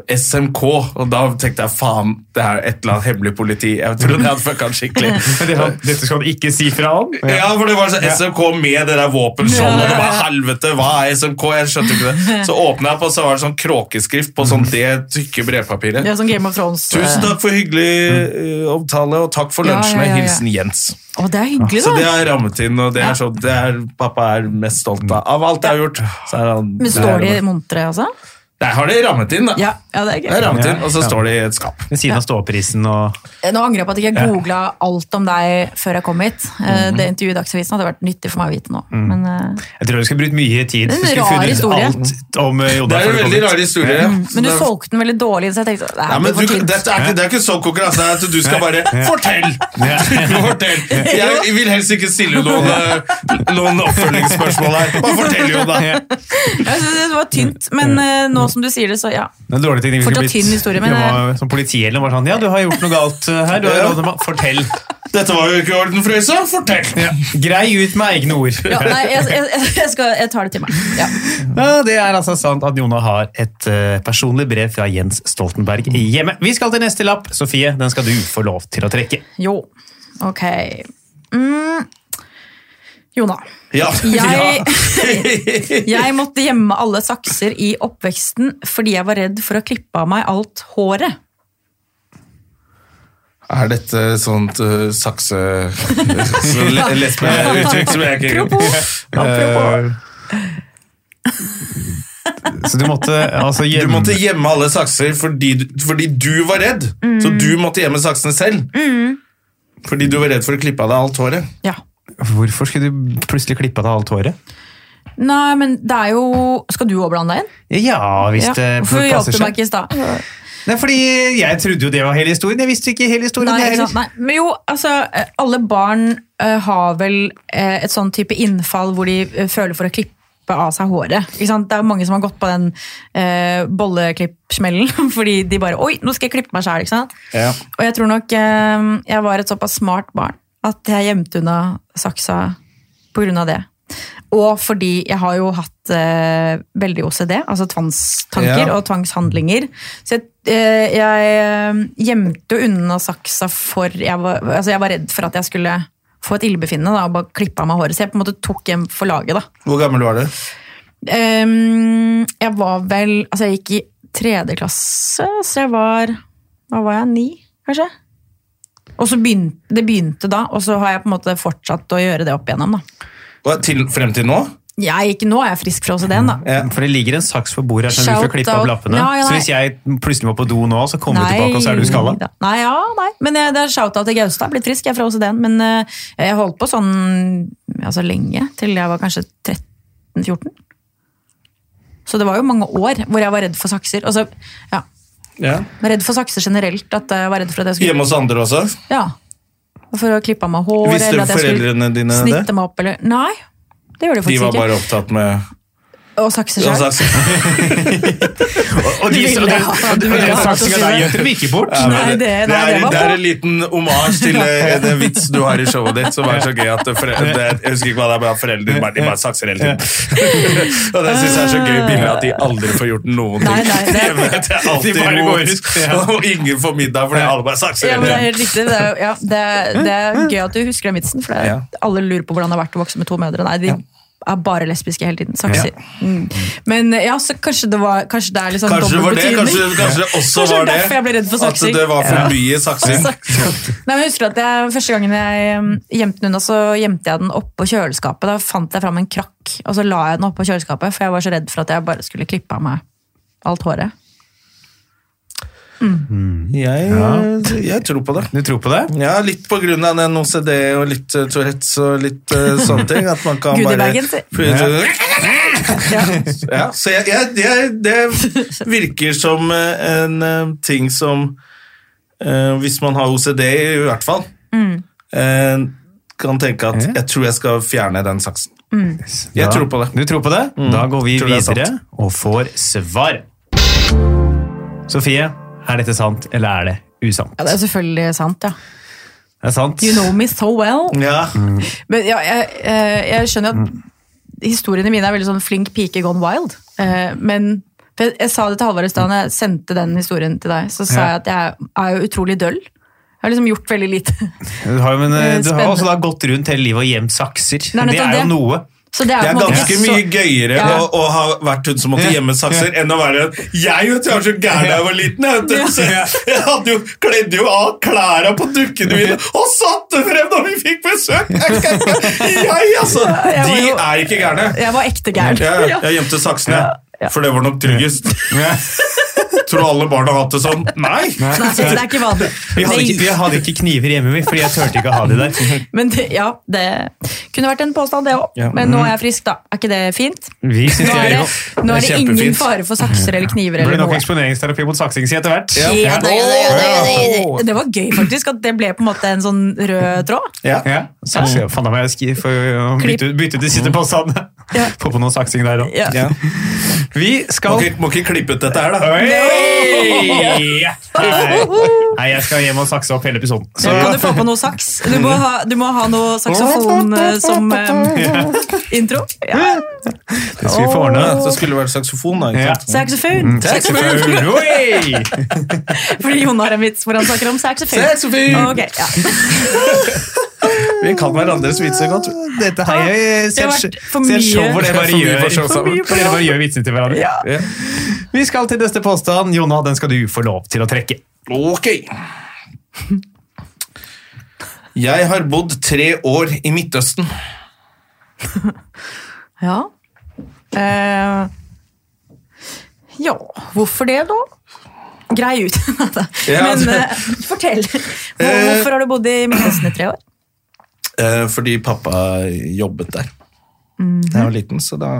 Speaker 1: SMK, og da tenkte jeg faen, det er et eller annet hemmelig politi. Jeg trodde jeg hadde fucka han skikkelig.
Speaker 2: Men det, dette skal du ikke si fra om.
Speaker 1: Ja, for det var sånn SMK med det der våpenskjoldet, og det var helvete, hva er SMK? Jeg skjønte ikke det. Så åpna jeg på, så var det sånn kråkeskrift på sånn det tykke brevpapiret.
Speaker 3: Det er sånn Game of Thrones. eh.
Speaker 1: Tusen takk for hyggelig eh, omtale, og takk for
Speaker 3: Ja,
Speaker 1: lunsjene.
Speaker 3: ja, ja, ja.
Speaker 1: Hilsen Jens.
Speaker 3: Å, det er hyggelig,
Speaker 1: Så det
Speaker 3: da.
Speaker 1: er rammet inn, og det er sånn det er, Pappa er mest stolt av. Av alt jeg har gjort, så er han
Speaker 3: Men står de muntre, altså?
Speaker 1: Der har de rammet inn, da.
Speaker 3: Ja, ja, det er
Speaker 1: Det er
Speaker 3: gøy.
Speaker 1: rammet
Speaker 2: Ja,
Speaker 1: inn, og så
Speaker 2: ja.
Speaker 1: står de i et skap.
Speaker 2: Ved siden av ståprisen og
Speaker 3: Nå angrer jeg på at jeg ikke googla alt om deg før jeg kom hit.
Speaker 1: Mhm.
Speaker 3: Eh, Det intervjuet i Dagsavisen hadde vært nyttig for meg å vite nå. Men eh,
Speaker 2: Jeg tror du skulle brukt mye tid.
Speaker 3: Det er en
Speaker 2: Du skulle
Speaker 3: rar
Speaker 2: funnet
Speaker 3: historie.
Speaker 2: alt om eh, Jodel
Speaker 1: Det er
Speaker 2: før
Speaker 1: en
Speaker 2: du kom
Speaker 1: veldig
Speaker 2: hit.
Speaker 1: rar historie. Ja.
Speaker 3: Men du solgte den veldig dårlig, så jeg tenkte nei,
Speaker 1: Ja, men
Speaker 3: det
Speaker 1: du,
Speaker 3: var tynt.
Speaker 1: dette er ikke, det er ikke sånn konkurranse det er at du skal bare Fortell! fortell. Jeg vil helst ikke stille noen, eh, noen oppfølgingsspørsmål her. Bare fortell, Jonna.
Speaker 2: Ja.
Speaker 3: Jeg synes det var tynt, men eh, nå som du sier det, så ja.
Speaker 2: Det er en dårlig ting. vi skulle
Speaker 3: Fortsatt
Speaker 2: blitt-
Speaker 3: tynn historie, men-
Speaker 2: jobba Som politi eller noe sånn, ja, du har gjort noe galt eh, her. Du har
Speaker 1: Ja.
Speaker 2: rådet meg. Fortell.
Speaker 1: Dette var jo ikke i orden, Frøysa. Fortell!
Speaker 2: Grei ut med egne ord.
Speaker 3: ja nei, jeg, jeg, jeg, skal, jeg tar det til meg. Ja.
Speaker 2: Ja, det er altså sant at Jona har et eh, personlig brev fra Jens Stoltenberg hjemme. Vi skal til neste lapp. Sofie, den skal du få lov til å trekke.
Speaker 3: Jo, ok. Mm. Jona.
Speaker 1: Ja.
Speaker 3: Jeg-
Speaker 1: Ja.
Speaker 3: Jeg måtte gjemme alle sakser i oppveksten fordi jeg var redd for å klippe av meg alt håret.
Speaker 1: Er dette sånt uh, sakse... så le- Lesbeuttrykk som jeg ikke
Speaker 3: Apropos.
Speaker 1: Eh,
Speaker 2: Så du måtte altså
Speaker 1: Du
Speaker 2: gjemme
Speaker 1: måtte gjemme alle sakser fordi du, fordi du var redd. Så
Speaker 3: Mm.
Speaker 1: du måtte gjemme saksene selv. Fordi du var redd for å klippe av deg alt håret.
Speaker 3: Ja.
Speaker 2: Hvorfor skulle du plutselig klippe av deg alt håret?
Speaker 3: Nei, men det er jo Skal du òg blande deg inn?
Speaker 2: Ja, hvis
Speaker 3: Ja.
Speaker 2: det
Speaker 3: Hvorfor hjalp
Speaker 2: passer
Speaker 3: du meg
Speaker 2: seg.
Speaker 3: ikke i stad?
Speaker 2: Nei, fordi jeg trodde jo det var hele historien. Jeg visste ikke hele historien.
Speaker 3: Nei,
Speaker 2: jeg
Speaker 3: ikke
Speaker 2: heller.
Speaker 3: sant? Nei. Men jo, altså, eh, alle barn eh, har vel eh, et sånn type innfall hvor de eh, føler for å klippe av seg håret. Ikke sant? Det er jo mange som har gått på den eh, bolleklippsmellen fordi de bare Oi, nå skal jeg klippe meg sjæl! ikke sant?
Speaker 1: Ja.
Speaker 3: Og jeg tror nok eh, jeg var et såpass smart barn at jeg gjemte unna saksa på grunn av det. Og fordi jeg har jo hatt eh, veldig OCD, altså tvangstanker
Speaker 1: Ja.
Speaker 3: og tvangshandlinger. Så jeg, eh, jeg eh, gjemte jo unna saksa for jeg var, altså jeg var redd for at jeg skulle få et illebefinnende da, og bare klippe av meg håret. Så jeg på en måte tok hjem for laget, da.
Speaker 1: Hvor gammel var du?
Speaker 3: Ehm, jeg var vel Altså, jeg gikk i tredje klasse, så jeg var Hva var jeg? Ni, kanskje? Og så begynte, Det begynte da, og så har jeg på en måte fortsatt å gjøre det opp igjennom. da.
Speaker 1: Hva, Til, frem til nå?
Speaker 3: Jeg, ikke nå er jeg frisk fra OCD-en, da.
Speaker 1: Ja.
Speaker 2: For det ligger en saks på bordet her som du
Speaker 3: Shout
Speaker 2: får klippe opp
Speaker 3: out.
Speaker 2: lappene.
Speaker 3: Ja, ja,
Speaker 2: så
Speaker 3: nei.
Speaker 2: hvis jeg plutselig må på do nå, så kommer du tilbake, og så er du skalla.
Speaker 3: da. Nei, ja, nei. Men jeg, det er shout-out til Gaustad. Blitt frisk, jeg er fra OCD-en. Men eh, jeg holdt på sånn altså lenge, til jeg var kanskje 13-14. Så det var jo mange år hvor jeg var redd for sakser. Og så, ja,
Speaker 1: Ja.
Speaker 3: var redd for sakser generelt. At jeg var redd for at jeg skulle
Speaker 1: Hjemme hos andre også?
Speaker 3: Ja. For å klippe av meg hår,
Speaker 1: Visste
Speaker 3: eller at jeg skulle
Speaker 1: foreldrene dine det?
Speaker 3: snitte meg opp, eller Nei, det gjorde de
Speaker 1: De
Speaker 3: faktisk
Speaker 1: var
Speaker 3: ikke.
Speaker 1: bare opptatt med
Speaker 3: Og sakse
Speaker 1: Og
Speaker 3: sjøl.
Speaker 1: så-
Speaker 2: Og de,
Speaker 3: Du ville
Speaker 2: og de,
Speaker 3: ha-
Speaker 2: og de,
Speaker 3: du ville
Speaker 2: og de
Speaker 3: ha-
Speaker 2: saksene der gjemte dem ikke bort.
Speaker 1: Ja, men
Speaker 3: Nei, det-
Speaker 1: det,
Speaker 3: nei, det
Speaker 1: er,
Speaker 3: var
Speaker 1: det
Speaker 3: på.
Speaker 1: er en liten omasj til eh, en vits du har i showet ditt, som er så gøy at fore, det, Jeg husker ikke hva det er, men foreldrene dine bare, de bare sakser hele tiden. Og det syns jeg er så gøy bilde at de aldri får gjort noen ting.
Speaker 3: Ah. Nei, nei, det-
Speaker 1: Hjemme, det er
Speaker 2: De
Speaker 1: alltid
Speaker 2: bare går
Speaker 1: rot,
Speaker 2: ut, ja.
Speaker 1: og ingen får middag fordi alle bare sakser
Speaker 3: Ja, men det
Speaker 1: hele
Speaker 3: er helt
Speaker 1: tiden.
Speaker 3: riktig. Det er, jo- ja, det, er- det er gøy at du husker den vitsen, for det,
Speaker 1: Ja.
Speaker 3: alle lurer på hvordan det har vært å vokse med to mødre. Nei, de er bare lesbiske hele tiden. Sakser. Mm. Men ja, så kanskje det, var, kanskje det er litt sånn
Speaker 1: Kanskje det
Speaker 3: dobbelt
Speaker 1: var det,
Speaker 3: betydning.
Speaker 1: kanskje, kanskje det også
Speaker 3: Kanskje det var
Speaker 1: var det.
Speaker 3: derfor jeg ble redd for
Speaker 1: At
Speaker 3: saksing.
Speaker 1: det var for
Speaker 3: Ja.
Speaker 1: mye saksing.
Speaker 3: Sakser. Nei, men jeg husker at jeg, Første gangen jeg um, gjemte den unna, så gjemte jeg den oppå kjøleskapet. Da fant jeg fram en krakk, og så la jeg den oppå kjøleskapet, for jeg var så redd for at jeg bare skulle klippe av meg alt håret.
Speaker 1: Jeg, jeg tror på det.
Speaker 2: Du tror på det?
Speaker 1: Ja, litt på grunn av den OCD og litt eh, Tourettes og litt eh, sånne ting. At man kan bare
Speaker 3: Goodiebagen, si.
Speaker 1: Ja. ja, så jeg, jeg, jeg, det virker som eh, en eh, ting som eh, Hvis man har OCD, i hvert fall, eh, kan tenke at jeg tror jeg skal fjerne den saksen. Jeg
Speaker 2: Da-
Speaker 1: tror på det. Mm.
Speaker 2: Du tror på det? Da går vi
Speaker 1: Tror det er sant.
Speaker 2: videre og får svar. Sofie, er dette sant, eller er det usant?
Speaker 3: Ja, Det er selvfølgelig sant, ja.
Speaker 2: Det er sant.
Speaker 3: You know me so well.
Speaker 1: Ja,
Speaker 3: Men ja, jeg, eh, jeg skjønner at historiene mine er veldig sånn flink pike gone wild. Eh, Men for jeg, jeg sa det til Halvard i stad, da jeg sendte den historien til deg, så sa
Speaker 2: Ja.
Speaker 3: jeg at jeg er jo utrolig døll. Jeg har liksom gjort veldig lite.
Speaker 2: Du har, jo- men, eh, du har
Speaker 3: Spennende.
Speaker 2: også da gått rundt hele livet og gjemt sakser. Det
Speaker 3: er
Speaker 2: er,
Speaker 3: nettopp
Speaker 2: jo
Speaker 3: det.
Speaker 2: noe.
Speaker 3: Så det er, på
Speaker 1: Det er
Speaker 3: en måte
Speaker 1: ganske
Speaker 3: ikke så-
Speaker 1: mye gøyere
Speaker 3: Ja.
Speaker 1: å, å ha vært hun som måtte gjemme sakser, enn å være en Jeg vet du, jeg var så gæren da jeg var liten. Jeg, vet, du. Så jeg, jeg hadde jo, kledde jo av klærne på dukkene mine og satte frem når vi fikk besøk! Jeg, kan ikke- jeg, altså,
Speaker 3: jeg var
Speaker 1: de
Speaker 3: jo-
Speaker 1: er ikke gærne.
Speaker 3: Jeg var ekte gæren.
Speaker 1: Jeg,
Speaker 3: Ja.
Speaker 1: jeg gjemte saksene, for det var nok tryggest. Tror alle barn har hatt det sånn? Nei!
Speaker 3: Nei, så det er ikke vanlig.
Speaker 2: Vi hadde, ikke,
Speaker 3: Men-
Speaker 2: vi hadde ikke kniver hjemme, vi, fordi jeg turte ikke å ha de der.
Speaker 3: Men det, ja, det kunne vært en påstand, det òg. Men nå er jeg frisk, da. Er ikke det fint?
Speaker 2: Vi Mm. synes
Speaker 3: Nå
Speaker 2: det
Speaker 3: er
Speaker 2: er jo
Speaker 3: det, nå er
Speaker 1: det
Speaker 3: det
Speaker 1: er
Speaker 3: ingen
Speaker 1: kjempefint.
Speaker 3: fare for sakser eller kniver eller
Speaker 2: Blir nok
Speaker 3: noe.
Speaker 2: eksponeringsterapi mot saksing, si etter hvert.
Speaker 1: Ja.
Speaker 3: Ja, det, det, det, det,
Speaker 1: Åh.
Speaker 3: det, det var gøy, faktisk, at det ble på en måte en sånn rød tråd.
Speaker 1: Ja.
Speaker 2: Ja, sakser. Faen, da må jeg ski- få
Speaker 3: Klipp.
Speaker 2: bytte, ut- bytte ut de siste påstandene.
Speaker 3: Ja.
Speaker 2: Få på noe saksing der òg.
Speaker 3: Ja.
Speaker 1: Ja.
Speaker 2: Vi
Speaker 1: Må,
Speaker 2: skal
Speaker 1: ikke, må ikke klippe ut dette her, da.
Speaker 2: Oi! Nei. Nei, jeg skal hjem og sakse opp hele episoden. Så
Speaker 3: Så kan du få på noe saks. Du må ha, du må ha noe saksofon eh, som eh, intro. Ja.
Speaker 2: det skal vi få ordne.
Speaker 1: Så skulle det vært saksofon, da.
Speaker 2: Ja.
Speaker 1: Ikke sant? Mm.
Speaker 3: Saksofon!
Speaker 2: Saksofon. Oi!
Speaker 3: Fordi Jon har en vits hvor han snakker om saksofon.
Speaker 1: Saksofon!
Speaker 3: Ok, ja.
Speaker 1: Vi kan hverandres vitser godt.
Speaker 2: Dette har jeg
Speaker 3: Det har
Speaker 2: sett
Speaker 3: vært for
Speaker 2: sett
Speaker 3: mye.
Speaker 2: show hvor dere bare
Speaker 1: For mye
Speaker 2: gjør
Speaker 1: for show sammen.
Speaker 2: hvor dere bare gjør vitsene til hverandre.
Speaker 3: Ja.
Speaker 1: Ja.
Speaker 2: Vi skal til neste påstand. Jonna, den skal du få lov til å trekke.
Speaker 1: Ok. Jeg har bodd tre år i Midtøsten.
Speaker 3: ja. Eh, ja, hvorfor det, da? Grei ut.
Speaker 1: Ja, Eh.
Speaker 3: Men
Speaker 1: det-
Speaker 3: eh, fortell. Hvor- Hvorfor har du bodd i Midtøsten i tre år?
Speaker 1: eh, Fordi pappa jobbet der. Da jeg var liten, så da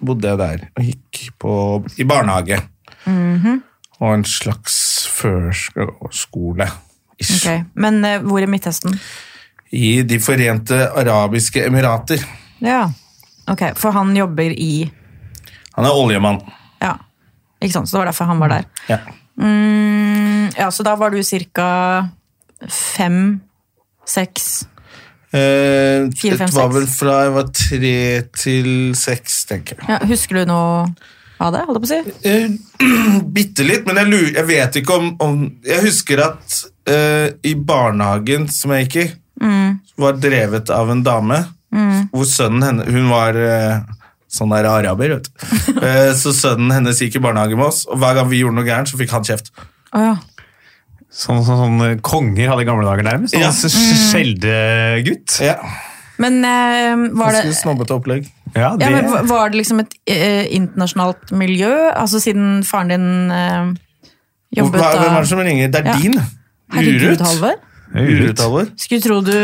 Speaker 1: bodde jeg der og gikk på, i barnehage. Og en slags førskole. ish.
Speaker 3: Ok, Men eh, hvor i Midtøsten?
Speaker 1: I De forente arabiske emirater.
Speaker 3: Ja, ok. For han jobber i
Speaker 1: Han er oljemann.
Speaker 3: Ja, ikke sant? Så det var derfor han var der.
Speaker 1: Ja.
Speaker 3: Mm, ja, Så da var du ca. fem, seks
Speaker 1: Eh,
Speaker 3: Fire, fem,
Speaker 1: det var
Speaker 3: seks.
Speaker 1: vel fra jeg var tre til seks, tenker jeg.
Speaker 3: ja, Husker du noe av det? holdt jeg på å si?
Speaker 1: Uh, Bitte litt, men jeg, lurer, jeg vet ikke om, om Jeg husker at eh, i barnehagen som jeg gikk i,
Speaker 3: Mm.
Speaker 1: var drevet av en dame hvor sønnen hennes Hun var eh, sånn der araber, vet du. Eh, så sønnen hennes gikk i barnehage med oss, og hver gang vi gjorde noe gærent, så fikk han kjeft.
Speaker 3: Å ja.
Speaker 2: Sånn som konger hadde i gamle dager, nærmest. Sånn
Speaker 1: Ja.
Speaker 2: s- s- Skjeldegutt.
Speaker 1: Ja,
Speaker 3: Men eh, var det
Speaker 1: Ganske snobbete opplegg.
Speaker 2: Ja, det
Speaker 3: ja, men va- Var det liksom et eh, internasjonalt miljø? Altså siden faren din eh,
Speaker 1: Hva,
Speaker 3: jobbet
Speaker 1: hvem er
Speaker 3: da
Speaker 1: det som ringer? Det er
Speaker 3: Ja.
Speaker 1: din!
Speaker 3: Herregud,
Speaker 1: Urut.
Speaker 3: Halvor.
Speaker 2: Det er
Speaker 1: Urut,
Speaker 2: urut.
Speaker 1: Halvor.
Speaker 3: Skulle tro du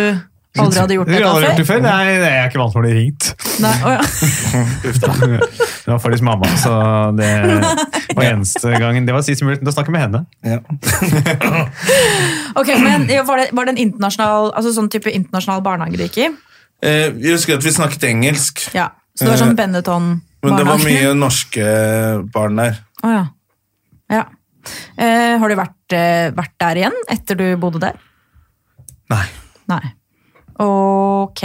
Speaker 3: aldri hadde gjort
Speaker 2: Dere har aldri
Speaker 3: dette
Speaker 2: gjort det
Speaker 3: før.
Speaker 2: før? Nei, nei, jeg er ikke vant til å bli ringt.
Speaker 3: Nei, å ja.
Speaker 2: Det var faktisk mamma, så det var eneste gangen. Det var sist mulighet til å snakke med henne.
Speaker 1: Ja.
Speaker 3: Ok, men ja, var det, var det en internasjonal, altså sånn type internasjonal barnehage du gikk i?
Speaker 1: Eh, jeg husker at vi snakket engelsk.
Speaker 3: Ja, Så det var sånn Benetton
Speaker 1: Men det var
Speaker 3: Barnehagen.
Speaker 1: mye norske barn der.
Speaker 3: Å ja. ja. Eh, har du vært, eh, vært der igjen etter du bodde der?
Speaker 1: Nei.
Speaker 3: Nei. Ok.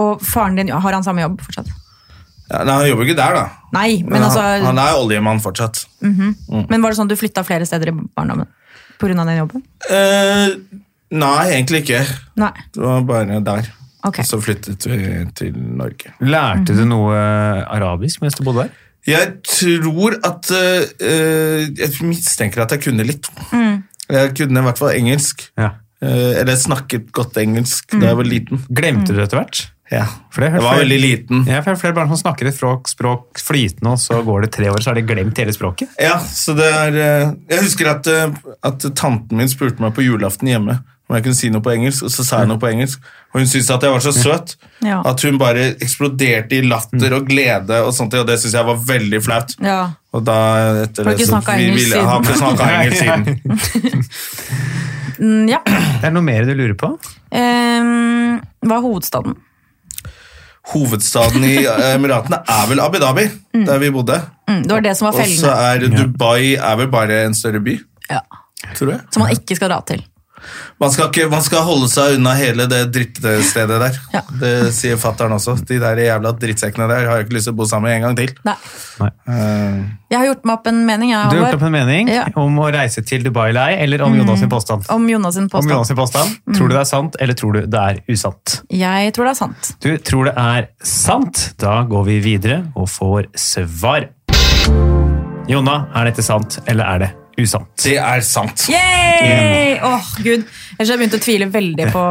Speaker 3: Og faren din, har han samme jobb fortsatt?
Speaker 1: Ja, nei, han jobber ikke der, da.
Speaker 3: Nei, men
Speaker 1: han,
Speaker 3: altså
Speaker 1: han er oljemann fortsatt.
Speaker 3: Men var det sånn at du flytta flere steder i barndommen pga. den jobben?
Speaker 1: Eh, nei, egentlig ikke.
Speaker 3: Nei.
Speaker 1: Det var bare der.
Speaker 3: Ok.
Speaker 1: Og så flyttet vi til Norge.
Speaker 2: Lærte du noe arabisk mens du bodde der?
Speaker 1: Jeg tror at eh, Jeg mistenker at jeg kunne litt.
Speaker 3: Mm.
Speaker 1: Jeg kunne i hvert fall engelsk.
Speaker 2: Ja.
Speaker 1: Eh, eller jeg snakket godt engelsk da
Speaker 3: Mm.
Speaker 1: jeg var liten.
Speaker 2: Glemte du det etter hvert?
Speaker 1: Ja.
Speaker 2: For det har jeg
Speaker 1: Jeg
Speaker 2: hørt
Speaker 1: var
Speaker 2: flere-
Speaker 1: veldig liten.
Speaker 2: Ja, for det er flere barn som snakker et språk, språk flytende, og så går det tre år, så har de glemt hele språket.
Speaker 1: Ja, så det er eh, Jeg husker at, eh, at tanten min spurte meg på julaften hjemme om jeg kunne si noe på engelsk, og så sa jeg noe på engelsk. Og hun syntes at jeg var så søt
Speaker 3: Ja.
Speaker 1: at hun bare eksploderte i latter og glede, og sånt, og det syntes jeg var veldig flaut.
Speaker 3: Ja.
Speaker 1: Og da etter
Speaker 3: Har
Speaker 1: det
Speaker 3: ikke
Speaker 1: så
Speaker 3: snakket
Speaker 1: vi-
Speaker 3: engelsk
Speaker 1: ville-
Speaker 3: siden.
Speaker 1: Har ikke snakka engelsk siden.
Speaker 3: Mm, ja.
Speaker 2: Er det noe mer du lurer på?
Speaker 3: Ehm, hva er hovedstaden?
Speaker 1: Hovedstaden i eh, Emiratene er vel Abu Dhabi, der vi bodde.
Speaker 3: Mm, det var det som var
Speaker 1: Og så
Speaker 3: fellene.
Speaker 1: er Dubai er vel bare en større by,
Speaker 3: Ja.
Speaker 1: tror jeg.
Speaker 3: Som man ikke skal dra til.
Speaker 1: Man skal, ikke, man skal holde seg unna hele det drittstedet der.
Speaker 3: Ja.
Speaker 1: Det sier fattern også. De der jævla drittsekkene der har jeg ikke lyst til å bo sammen med en gang til.
Speaker 3: Nei.
Speaker 2: Nei.
Speaker 1: Eh,
Speaker 3: Jeg har gjort meg opp en mening jeg,
Speaker 2: Du har gjort
Speaker 3: Halvor,
Speaker 2: opp en mening
Speaker 3: Ja. Mm.
Speaker 2: om å reise til Dubai lei, eller om Jonas sin påstand.
Speaker 3: om Jonas sin
Speaker 2: Om
Speaker 3: påstand. Mm.
Speaker 2: Jonas sin påstand. Tror du det er sant, eller tror du det er usant?
Speaker 3: Jeg tror det er sant.
Speaker 2: Du tror det er sant? Da går vi videre og får svar. Jonna, er dette sant, eller er det usant?
Speaker 1: det er sant.
Speaker 3: Yay! Åh, gud. Ellers har jeg begynt å tvile veldig på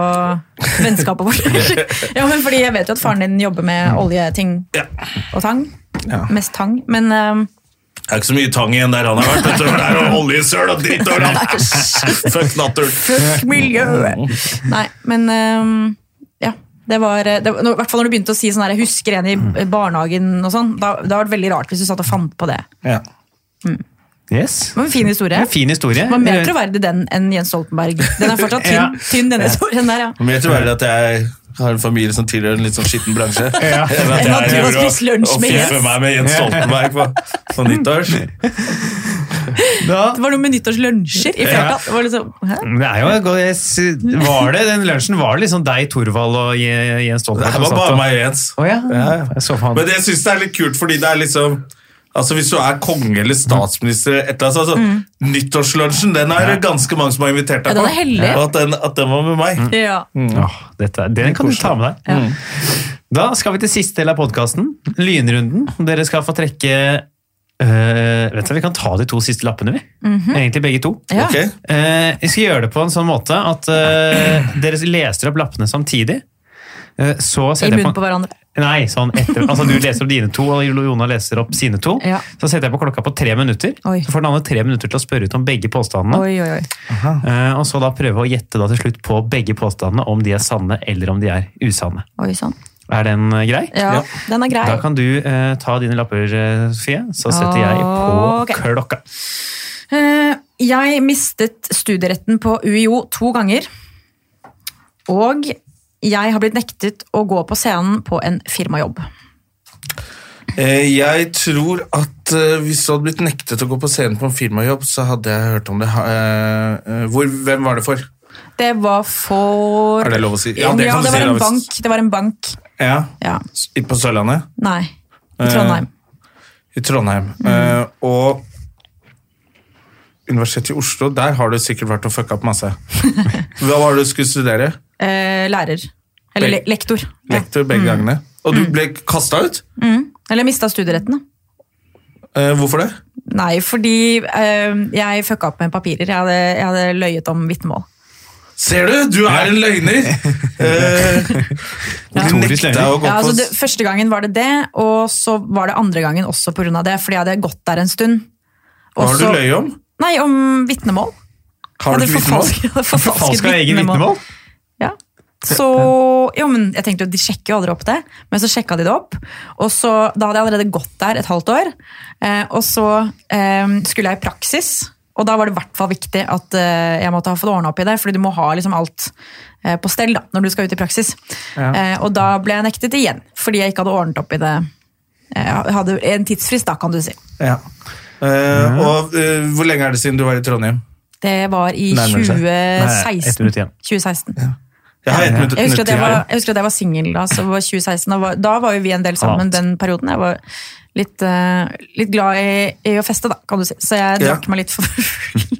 Speaker 3: vennskapet vårt. ja, men fordi jeg vet jo at faren din jobber med oljeting og tang.
Speaker 1: Ja.
Speaker 3: Mest tang. Men ehm,
Speaker 1: Det er ikke så mye tang igjen der han har vært. Dette var der og oljesøl og dritt overalt. Fuck naturen.
Speaker 3: miljøet. Nei, men ehm, ja. Det var, det, var- når, I hvert fall når du begynte å si sånn her, jeg husker en i barnehagen og sånn. Da, det hadde vært veldig rart hvis du satt og fant på det.
Speaker 1: Ja.
Speaker 2: Yes.
Speaker 3: Det var en fin historie.
Speaker 2: En fin historie.
Speaker 3: Det var mer troverdig den enn Jens Stoltenberg. Den er fortsatt
Speaker 2: Ja.
Speaker 3: tynn, tynn denne historien der, ja.
Speaker 1: Men jeg tror bare at jeg har en familie som tilhører en litt sånn skitten bransje.
Speaker 2: Ja.
Speaker 1: Enn at
Speaker 3: Enn at du
Speaker 1: jeg
Speaker 3: har
Speaker 1: driver og-
Speaker 3: spist lunsj med
Speaker 1: og
Speaker 3: Jens.
Speaker 1: fiffer meg med Jens Stoltenberg på, på nyttårs.
Speaker 2: Da
Speaker 3: Det var noe med nyttårslunsjer i
Speaker 2: Ja. Mm.
Speaker 3: flertall. Det var liksom, hæ?
Speaker 2: Men Det er jo, jeg- jeg sy- var det, Den lunsjen var liksom deg, Torvald og Je- Jens
Speaker 1: Det
Speaker 2: Stoltenberg.
Speaker 1: her
Speaker 2: som
Speaker 1: var
Speaker 2: satt
Speaker 1: bare
Speaker 2: og-
Speaker 1: meg og Jens.
Speaker 2: Å ja.
Speaker 1: Ja, ja.
Speaker 2: Jeg så for
Speaker 1: Men
Speaker 2: meg.
Speaker 1: jeg syns det er litt kult, fordi det er liksom Altså Hvis du er konge eller
Speaker 3: Mm.
Speaker 1: statsminister eller et eller annet, sånt, altså, Nyttårslunsjen den er det ganske mange som har invitert deg
Speaker 3: Ja, den
Speaker 1: på.
Speaker 3: er hellig. Mm.
Speaker 1: Og at den, at den var med meg.
Speaker 3: Ja.
Speaker 2: Åh, dette, er- den kan du ta med deg.
Speaker 3: Mm.
Speaker 2: Da skal vi til siste del av podkasten, lynrunden. Dere skal få trekke øh, Vet du, Vi kan ta de to siste lappene, vi. Egentlig begge to.
Speaker 3: Mhm. Ja.
Speaker 1: Ok?
Speaker 2: Eh, vi skal gjøre det på en sånn måte at eh, dere leser opp lappene samtidig. Eh, så
Speaker 3: I
Speaker 2: setter jeg
Speaker 3: munnen på hverandre.
Speaker 2: Nei, sånn etter, altså du leser opp dine to, og Jona leser opp sine to.
Speaker 3: Ja.
Speaker 2: Så setter jeg på klokka på tre minutter.
Speaker 3: Oi.
Speaker 2: Så får den andre tre minutter til å spørre ut om begge påstandene.
Speaker 3: Oi, oi, oi.
Speaker 2: Eh, og så da prøve å gjette da til slutt på begge påstandene, om de er sanne eller om de er usanne.
Speaker 3: Oi sånn. sann.
Speaker 2: Er den eh, grei?
Speaker 3: Ja,
Speaker 1: Ja.
Speaker 3: den er grei.
Speaker 2: Da kan du eh, ta dine lapper, eh, Sofie. Så setter jeg på
Speaker 3: Ok.
Speaker 2: klokka.
Speaker 3: Eh, jeg mistet studieretten på UiO to ganger. Og jeg har blitt nektet å gå på scenen på en firmajobb.
Speaker 1: Eh, Jeg tror at eh, hvis du hadde blitt nektet å gå på scenen på en firmajobb, så hadde jeg hørt om det. Ha- eh, eh, Hvor, hvem var det for?
Speaker 3: Det var for
Speaker 1: Er det lov å si?
Speaker 3: Ja, det,
Speaker 1: kan du si,
Speaker 3: var
Speaker 1: da,
Speaker 3: en
Speaker 1: hvis-
Speaker 3: bank. Det var en bank.
Speaker 1: Ja.
Speaker 3: Ja.
Speaker 1: S- i- På Sørlandet?
Speaker 3: Nei. I
Speaker 1: Eh,
Speaker 3: Trondheim.
Speaker 1: I Trondheim.
Speaker 3: Mm.
Speaker 1: Eh, og Universitetet i Oslo, der har du sikkert vært og fucka opp masse. Hva var det du skulle studere?
Speaker 3: Eh, lærer. Eller le
Speaker 1: Beg-
Speaker 3: lektor. Ja.
Speaker 1: Lektor begge gangene. Og du ble kasta ut?
Speaker 3: Mm. Eller mista studieretten, da.
Speaker 1: Eh, hvorfor det?
Speaker 3: Nei, fordi eh, jeg fucka opp med papirer. Jeg hadde, jeg hadde løyet om vitnemål.
Speaker 1: Ser du, du er en løgner! Eh,
Speaker 3: Ja.
Speaker 1: du nekta å gå
Speaker 3: Ja,
Speaker 1: på
Speaker 3: altså det, første gangen var det det, og så var det andre gangen også pga. det. Fordi jeg hadde gått der en stund.
Speaker 1: Hva har du
Speaker 3: Også-
Speaker 1: løyet om?
Speaker 3: Nei, om vitnemål.
Speaker 1: Har du
Speaker 3: Hadde
Speaker 1: ikke vitnemål?
Speaker 3: forfalsket- hadde forfalsket
Speaker 2: Falska egen vitnemål?
Speaker 3: Ja. Så, jo, men jeg tenkte jo, De sjekker jo aldri opp det, men så sjekka de det opp. og så, Da hadde jeg allerede gått der et halvt år. Eh, og så eh, skulle jeg i praksis, og da var det i hvert fall viktig at eh, jeg måtte ha fått ordna opp i det. fordi du må ha liksom alt eh, på stell da, når du skal ut i praksis. Eh, og da ble jeg nektet igjen, fordi jeg ikke hadde ordnet opp i det Jeg hadde en tidsfrist, da, kan du si.
Speaker 1: Ja. Eh, og eh, hvor lenge er det siden du var i Trondheim?
Speaker 3: Det var i
Speaker 1: Nærmer seg.
Speaker 3: 2016.
Speaker 2: Nei, ett minutt igjen.
Speaker 3: 2016.
Speaker 1: Jeg har ett minutt
Speaker 3: Jeg husker at jeg
Speaker 1: til.
Speaker 3: var, jeg husker at jeg var singel da, så det var 2016. Da var, da var jo vi en del sammen
Speaker 2: Annet.
Speaker 3: den perioden. Jeg var litt, eh, litt glad i, i å feste, da, kan du si. Så jeg
Speaker 1: Ja.
Speaker 3: drakk meg litt for full.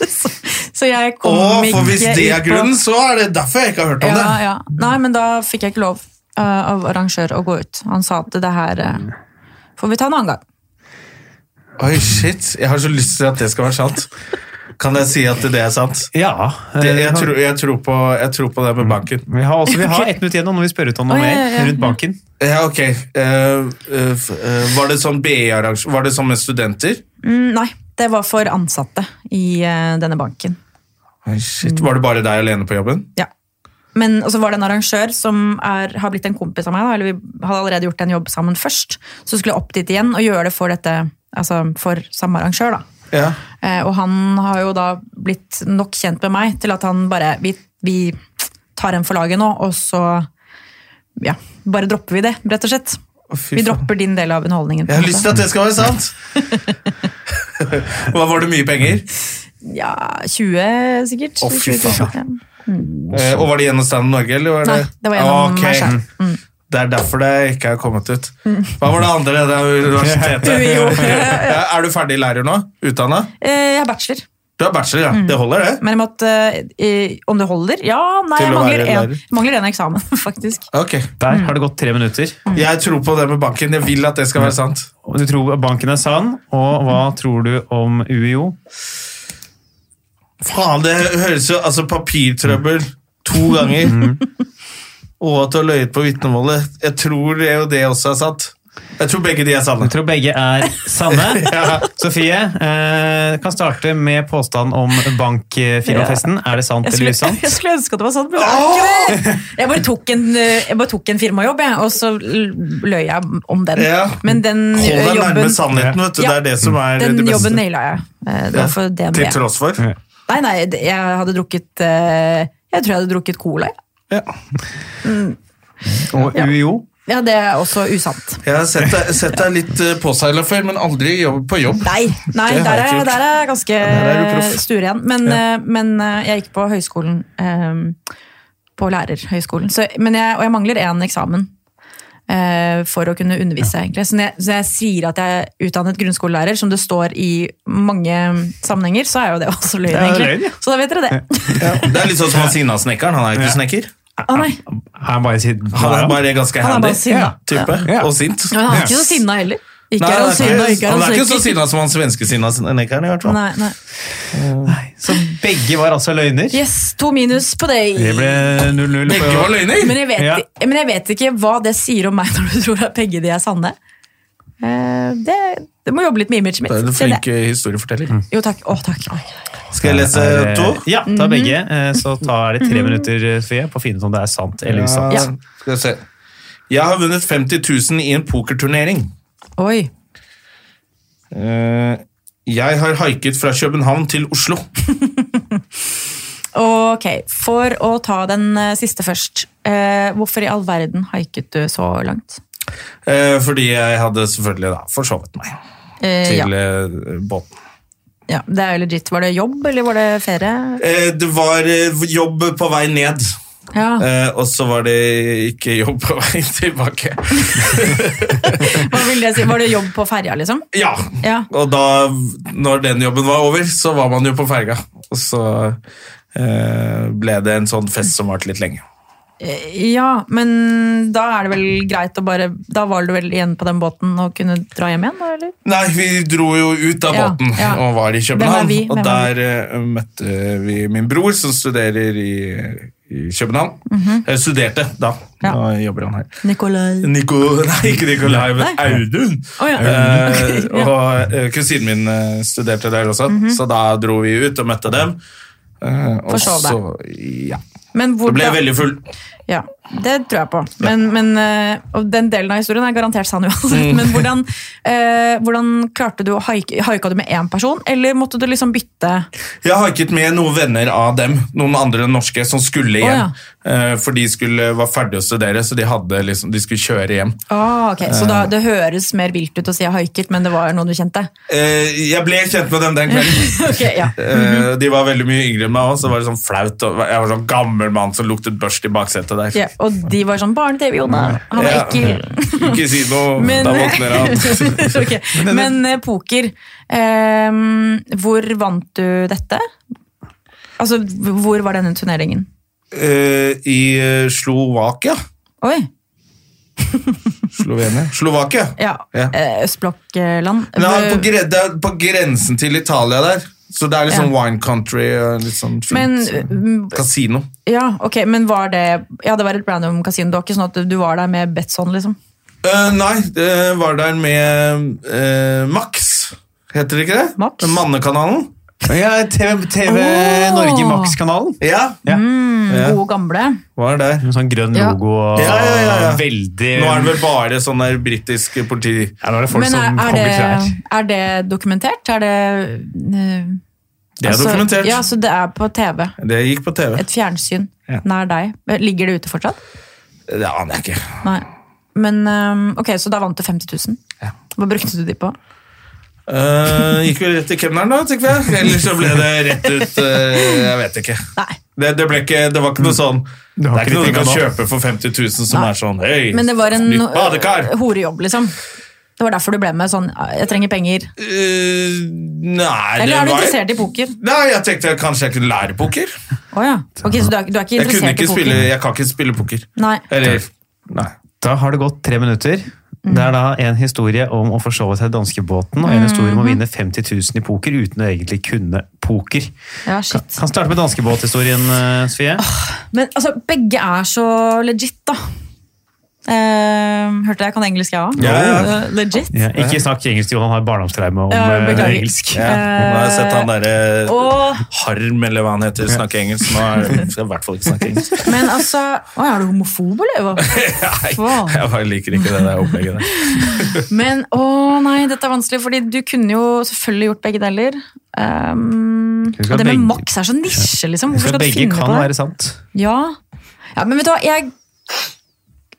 Speaker 3: så, så jeg kom
Speaker 1: Å,
Speaker 3: ikke
Speaker 1: for hvis det
Speaker 3: ut
Speaker 1: er
Speaker 3: på-
Speaker 1: grunnen, så er det derfor jeg ikke har hørt om
Speaker 3: ja,
Speaker 1: det.
Speaker 3: ja. Nei, men da fikk jeg ikke lov eh, av arrangør å gå ut. Han sa at det her eh, får vi ta en annen gang.
Speaker 1: Oi, shit. Jeg har så lyst til at det skal være sant. Kan jeg si at det er sant?
Speaker 2: Ja.
Speaker 1: Det,
Speaker 2: eh,
Speaker 1: jeg, tror, jeg, tror på, jeg tror på det med banken.
Speaker 2: Vi har, også, vi har ett minutt igjen nå når vi spør ut om noe
Speaker 3: Å, ja, ja, ja.
Speaker 2: mer rundt banken.
Speaker 1: Ja, ok. Eh, eh, f- eh, var det sånn BI-arrangement? Var det sånn med studenter?
Speaker 3: Mm, nei, det var for ansatte i eh, denne banken.
Speaker 1: Oi, shit. Var det bare deg alene på jobben?
Speaker 3: Ja. Men og så var det en arrangør som er, har blitt en kompis av meg. Da, eller Vi hadde allerede gjort en jobb sammen først. Så skulle jeg opp dit igjen og gjøre det for, dette, altså for samme arrangør. Da.
Speaker 1: Ja.
Speaker 3: Eh, og han har jo da blitt nok kjent med meg til at han bare Vi, vi tar en for laget nå, og så ja, bare dropper vi det, rett og slett.
Speaker 1: Å, fy
Speaker 3: Vi
Speaker 1: faen.
Speaker 3: dropper din del av underholdningen. på
Speaker 1: Jeg
Speaker 3: en
Speaker 1: har lyst
Speaker 3: måte.
Speaker 1: til at det skal være sant! Hva Var det mye penger?
Speaker 3: Ja, 20 sikkert.
Speaker 1: Å, fy
Speaker 3: 20 000, ja.
Speaker 1: Eh, og var det gjennom Stand Norge? Eller var det? Ah,
Speaker 3: Nei, det var gjennom Mm.
Speaker 1: Ok. Mm.
Speaker 3: meg selv.
Speaker 1: Det er derfor det ikke er kommet ut. Hva var det andre? Det er universitetet.
Speaker 3: Mm. Jo.
Speaker 1: Ja, er du ferdig lærer nå? Utdanna?
Speaker 3: Eh, Jeg har bachelor.
Speaker 1: Du har bachelor, ja.
Speaker 3: Mm.
Speaker 1: Det holder, det?
Speaker 3: Men jeg måtte, eh, om det holder? Ja, nei,
Speaker 1: Til
Speaker 3: jeg
Speaker 1: å
Speaker 3: mangler,
Speaker 1: være
Speaker 3: en,
Speaker 1: lærer.
Speaker 3: jeg mangler en eksamen, faktisk.
Speaker 1: Ok.
Speaker 2: Der har det gått tre minutter.
Speaker 3: Mm.
Speaker 1: Jeg tror på det med banken. Jeg vil at det skal være sant.
Speaker 2: Og Du tror banken er sann, og hva tror du om UiO?
Speaker 1: Faen, det høres jo Altså, papirtrøbbel to
Speaker 3: Mm.
Speaker 1: ganger. Og at du har løyet på vitnemålet. Jeg tror det er jo det også er sant. Jeg tror begge de er sanne.
Speaker 2: Jeg tror begge er sanne.
Speaker 1: Ja.
Speaker 2: Sofie, eh, kan starte med påstand om bankfirmafesten. Er det sant
Speaker 3: Jeg
Speaker 2: eller
Speaker 3: skulle,
Speaker 2: usant?
Speaker 3: jeg skulle ønske at det var sånn, men det er ikke det! Jeg bare tok en, eh, jeg bare tok en firmajobb, jeg, og så l- løy jeg om den.
Speaker 1: Ja.
Speaker 3: Men den eh,
Speaker 1: Hold deg nærme
Speaker 3: jobben,
Speaker 1: sannheten, vet du.
Speaker 3: Ja.
Speaker 1: Det er det som er
Speaker 3: den
Speaker 1: det beste.
Speaker 3: jobben naila jeg. Eh, Det
Speaker 1: Ja.
Speaker 3: var for DNB.
Speaker 1: Til tross for.
Speaker 2: Ja.
Speaker 3: Nei, nei, det- jeg hadde drukket eh, Jeg tror jeg hadde drukket cola. jeg.
Speaker 2: Og
Speaker 3: Ja.
Speaker 2: UiO?
Speaker 3: Ja, det er også usant.
Speaker 1: Jeg har sett deg, sett deg litt eh, påseila før, men aldri jobb på jobb.
Speaker 3: Nei, nei
Speaker 1: Det har
Speaker 3: der,
Speaker 1: jeg
Speaker 3: er,
Speaker 1: ikke gjort.
Speaker 3: der er jeg ganske
Speaker 1: Der er du proff.
Speaker 3: sture igjen. Men, eh, men eh, jeg gikk på høyskolen, eh, på lærerhøyskolen, så, men jeg, og jeg mangler én eksamen. eh, For å kunne undervise, egentlig. Så når, jeg, så jeg sier at jeg er utdannet grunnskolelærer, som det står i mange sammenhenger, så er jo det også løgn,
Speaker 2: Det er
Speaker 3: egentlig.
Speaker 2: løgn, ja.
Speaker 3: Så da vet dere det.
Speaker 1: Det er litt sånn som han Sina-snekkeren. Han er jo ikke snekker.
Speaker 3: Å nei,
Speaker 2: Er bare sitt-
Speaker 1: Han er bare ganske
Speaker 3: han er
Speaker 1: handy
Speaker 3: bare sinna.
Speaker 1: type.
Speaker 2: Ja.
Speaker 1: Og sint.
Speaker 3: Men han er ikke så
Speaker 2: Yes.
Speaker 3: sinna heller. Ikke
Speaker 1: Nei,
Speaker 3: er
Speaker 1: han,
Speaker 3: han sinna,
Speaker 1: er
Speaker 3: ikke
Speaker 1: ikke,
Speaker 3: er
Speaker 1: han
Speaker 3: han
Speaker 1: er ikke så
Speaker 3: søker.
Speaker 1: sinna som han svenske Sina-snekkeren, i hvert fall.
Speaker 3: Nei, nei.
Speaker 2: Så begge var altså løgner.
Speaker 3: Yes, to minus på deg.
Speaker 2: Det ble 0-0
Speaker 1: Begge var
Speaker 2: på
Speaker 1: løgner!
Speaker 3: Men jeg, vet,
Speaker 2: Ja.
Speaker 3: men jeg vet ikke hva det sier om meg når du tror at begge de er sanne. Eh, det, det må jobbe litt med imaget mitt.
Speaker 1: Det er en
Speaker 3: kjenner jeg.
Speaker 1: flink eh, historieforteller.
Speaker 3: Jo, takk. Å, takk. Oi.
Speaker 1: Skal jeg lese
Speaker 2: Eh,
Speaker 1: to? Mhm.
Speaker 2: Ja, ta begge. eh, Så tar det tre minutter, Sofie, på å finne ut om det er sant eller usant.
Speaker 3: Ja.
Speaker 1: Skal vi se. Jeg har vunnet 50 000 i en pokerturnering.
Speaker 3: Oi.
Speaker 1: Eh, Jeg har haiket fra København til Oslo.
Speaker 3: Ok, for å ta den eh, siste først. Eh, hvorfor i all verden haiket du så langt?
Speaker 1: Eh, Fordi jeg hadde selvfølgelig da forsovet meg
Speaker 3: Eh,
Speaker 1: til
Speaker 3: ja.
Speaker 1: eh, båten.
Speaker 3: ja, det er jo legit. Var det jobb, eller var det ferie?
Speaker 1: Eh, Det var eh, jobb på vei ned.
Speaker 3: Ja.
Speaker 1: Eh, og så var det ikke jobb på vei tilbake.
Speaker 3: Hva vil det si? Var det jobb på ferja, liksom?
Speaker 1: Ja.
Speaker 3: Ja.
Speaker 1: Og da, når den jobben var over, så var man jo på ferga. Og så eh, ble det en sånn fest som varte litt lenge.
Speaker 3: Eh, Ja, men da er det vel greit å bare Da var du vel igjen på den båten og kunne dra hjem igjen, da, eller?
Speaker 1: Nei, vi dro jo ut av
Speaker 3: Ja,
Speaker 1: båten
Speaker 3: ja.
Speaker 1: og var
Speaker 3: Hvem
Speaker 1: i
Speaker 3: er
Speaker 1: København.
Speaker 3: vi? Hvem er
Speaker 1: Og der eh, møtte vi min bror, som studerer i, i København. Eh, studerte da.
Speaker 3: Mhm. Ja.
Speaker 1: Nå jobber han her.
Speaker 3: Nikolai.
Speaker 1: Nico, nei, ikke Nicolai, men
Speaker 3: Nei.
Speaker 1: Audun.
Speaker 3: Å, ja.
Speaker 1: Eh,
Speaker 3: Ok, ja. Mhm.
Speaker 1: og eh, kusinen min eh, studerte der også, så da dro vi ut og møtte dem. Eh, og
Speaker 3: Forsov deg.
Speaker 1: så- Ja.
Speaker 3: Men
Speaker 1: Det ble
Speaker 3: hvordan-
Speaker 1: veldig full.
Speaker 3: Ja. Det tror jeg på. Men, men, eh, og den delen av historien er garantert sann uansett.
Speaker 1: Mm.
Speaker 3: Men hvordan, eh, hvordan klarte du å haike? Haika du med én person, eller måtte du liksom bytte?
Speaker 1: Jeg haiket med noen venner av dem, noen andre norske som skulle
Speaker 3: Å,
Speaker 1: hjem. Eh, For de skulle, var ferdige å studere, så de, hadde liksom, de skulle kjøre hjem.
Speaker 3: Ah, ok. Så da, det høres mer vilt ut å si jeg haiket, men det var noen du kjente?
Speaker 1: Eh, Jeg ble kjent med dem den kvelden.
Speaker 3: Ok, ja.
Speaker 1: Eh, De var veldig mye yngre enn meg òg, så det var det sånn flaut. og Jeg var sånn gammel mann som luktet børst i baksetet der.
Speaker 3: ja. Og de var sånn Barne-TV, Jona. Han er
Speaker 1: Ja.
Speaker 3: ekkel.
Speaker 1: Ikke si noe,
Speaker 3: Men-
Speaker 1: da våkner han.
Speaker 3: Ok, Men eh, poker, ehm, hvor vant du dette? Altså, h- hvor var denne turneringen?
Speaker 1: Eh, I eh, Slovakia.
Speaker 3: Oi,
Speaker 1: Slovenia. Slovakia.
Speaker 3: ja.
Speaker 1: Ja.
Speaker 3: eh, Østblokkland. Eh,
Speaker 1: Men det er på,
Speaker 3: Hvor-
Speaker 1: gre det er på grensen til Italia der. Så det er liksom
Speaker 3: Ja.
Speaker 1: wine country og litt sånn fint.
Speaker 3: Men, mm,
Speaker 1: Kasino.
Speaker 3: ja, ok, men var det Ja, det var et random kasino. Det var ikke sånn at du var der med Betson, liksom?
Speaker 1: Eh, nei, det var der med eh, Max. Heter det ikke det?
Speaker 3: Max?
Speaker 1: Mannekanalen.
Speaker 2: Ja, TV, TV
Speaker 3: Åh!
Speaker 2: Norge Max-kanalen.
Speaker 1: Ja,
Speaker 2: Ja.
Speaker 1: Mm. Ja.
Speaker 3: Gode gamle.
Speaker 1: var der.
Speaker 2: Med sånn grønn
Speaker 3: Ja.
Speaker 2: logo og
Speaker 1: Mhm. Ja, ja, ja, ja.
Speaker 2: veldig
Speaker 1: Nå er det vel bare sånn der britisk politi...
Speaker 2: Ja, nå er det folk
Speaker 3: men
Speaker 2: som
Speaker 3: er,
Speaker 2: kommer klær.
Speaker 3: er, det, er det dokumentert? Er det eh,
Speaker 1: Det er
Speaker 3: altså-
Speaker 1: dokumentert.
Speaker 3: Ja, så det er på TV.
Speaker 1: Det gikk på TV.
Speaker 3: Et fjernsyn
Speaker 1: Ja.
Speaker 3: nær deg. Ligger det ute fortsatt?
Speaker 1: Det aner jeg ikke.
Speaker 3: Nei. Men ehm, ok, så da vant du 50 000. Hva brukte du de på?
Speaker 1: Eh, gikk vel rett til kemneren, da, tenker jeg. Eller så ble det rett ut eh, Jeg vet ikke.
Speaker 3: Nei.
Speaker 1: Det, det, ble ikke, det var ikke noe sånn Det
Speaker 2: har
Speaker 1: er ikke noe du
Speaker 2: ikke
Speaker 1: kan
Speaker 2: tenkt
Speaker 1: kjøpe for 50 000 som
Speaker 3: Nei.
Speaker 1: er sånn Hei,
Speaker 3: Men det var en
Speaker 1: nytt badekar!
Speaker 3: eh, horejobb, liksom. Det var derfor du ble med sånn Jeg trenger penger.
Speaker 1: Eh, nei, det
Speaker 3: Eller er du
Speaker 1: var-
Speaker 3: interessert i poker?
Speaker 1: Nei, jeg tenkte kanskje jeg kunne lære poker.
Speaker 3: Å ja. Ok, Så du er, du er ikke
Speaker 1: Jeg, kunne
Speaker 3: interessert
Speaker 1: ikke
Speaker 3: i poker?
Speaker 1: spille, jeg kan ikke spille poker.
Speaker 3: Nei.
Speaker 1: Eller Nei.
Speaker 2: Da har det gått tre minutter. Det er da en historie om å forsove seg i danskebåten, og en historie om å
Speaker 3: Mhm.
Speaker 2: vinne 50 000 i poker uten å egentlig kunne poker.
Speaker 3: Ja, shit.
Speaker 2: Kan starte med danskebåthistorien, eh, Sofie.
Speaker 3: Men altså, begge er så legit, da. Ehm, hørte jeg kan engelsk, jeg òg?
Speaker 1: Ja, ja.
Speaker 3: Legit.
Speaker 2: Ja, ikke snakk engelsk, Johan har barndomstraume om
Speaker 3: Ja,
Speaker 2: eh,
Speaker 3: beklager. Eh,
Speaker 2: engelsk.
Speaker 1: Ja. Nå har jeg sett han derre
Speaker 3: Og,
Speaker 1: Harm, eller hva han heter, snakke engelsk. Nå er- skal jeg i hvert fall ikke snakke engelsk.
Speaker 3: men altså Å, er du homofob, eller? hva? Faen.
Speaker 1: Nei, jeg bare liker ikke det der opplegget der.
Speaker 3: Men å nei, dette er vanskelig, fordi du kunne jo selvfølgelig gjort begge deler. Ehm,
Speaker 2: Husk
Speaker 3: og
Speaker 2: at
Speaker 3: det med
Speaker 2: begge-
Speaker 3: maks er så nisje, liksom.
Speaker 2: Så
Speaker 3: Hvorfor skal du
Speaker 2: begge
Speaker 3: finne
Speaker 2: kan
Speaker 3: på det?
Speaker 2: være sant.
Speaker 3: Ja. ja, men vet du hva, jeg,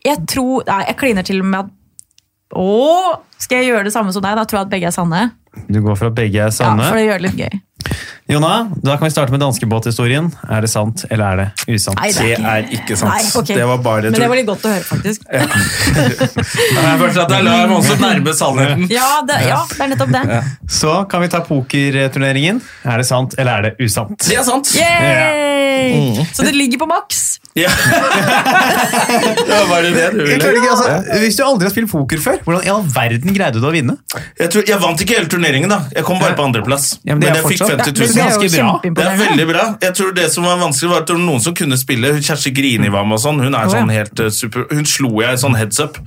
Speaker 3: jeg tror Nei, jeg kliner til med at Å, skal jeg gjøre det samme som deg? Da tror jeg at begge er sanne.
Speaker 2: Du går for at begge er
Speaker 3: Ja,
Speaker 2: sanne.
Speaker 3: for det gjør det litt gøy.
Speaker 2: Jonna, da kan vi starte med danskebåthistorien. Er det sant, eller er det usant?
Speaker 3: Nei,
Speaker 1: Det er ikke sant.
Speaker 3: Nei, ok.
Speaker 1: Det var bare
Speaker 3: Men
Speaker 1: tull.
Speaker 3: det var litt godt å høre, faktisk.
Speaker 1: Jeg følte at jeg la meg også nærme sannheten.
Speaker 3: Ja, det, ja, det er nettopp det.
Speaker 2: Så kan vi ta pokerturneringen. Er det sant, eller er det usant?
Speaker 1: Det er sant.
Speaker 3: Yay!
Speaker 1: Mm.
Speaker 3: Så det ligger på maks.
Speaker 1: Ja. det var bare det du
Speaker 2: Jeg
Speaker 1: ville.
Speaker 2: klarer ikke, altså, hvis du aldri har spilt poker før, hvordan i all verden greide du å vinne?
Speaker 1: Jeg, tror, jeg vant ikke hele turneringen, da. Jeg kom bare på andreplass.
Speaker 2: Ja, men
Speaker 1: men
Speaker 2: det er
Speaker 1: jeg fikk
Speaker 2: fortsatt-
Speaker 1: 50
Speaker 2: Ja, men
Speaker 1: 000.
Speaker 2: det er jo
Speaker 1: Det er
Speaker 3: kjempeimponerende.
Speaker 1: veldig bra. Jeg tror Det som var vanskelig, var at det var noen som kunne spille. Hun Kjersti Grini var med og sånn. Hun er
Speaker 3: Å, ja.
Speaker 1: sånn helt eh, super Hun slo jeg i sånn heads up.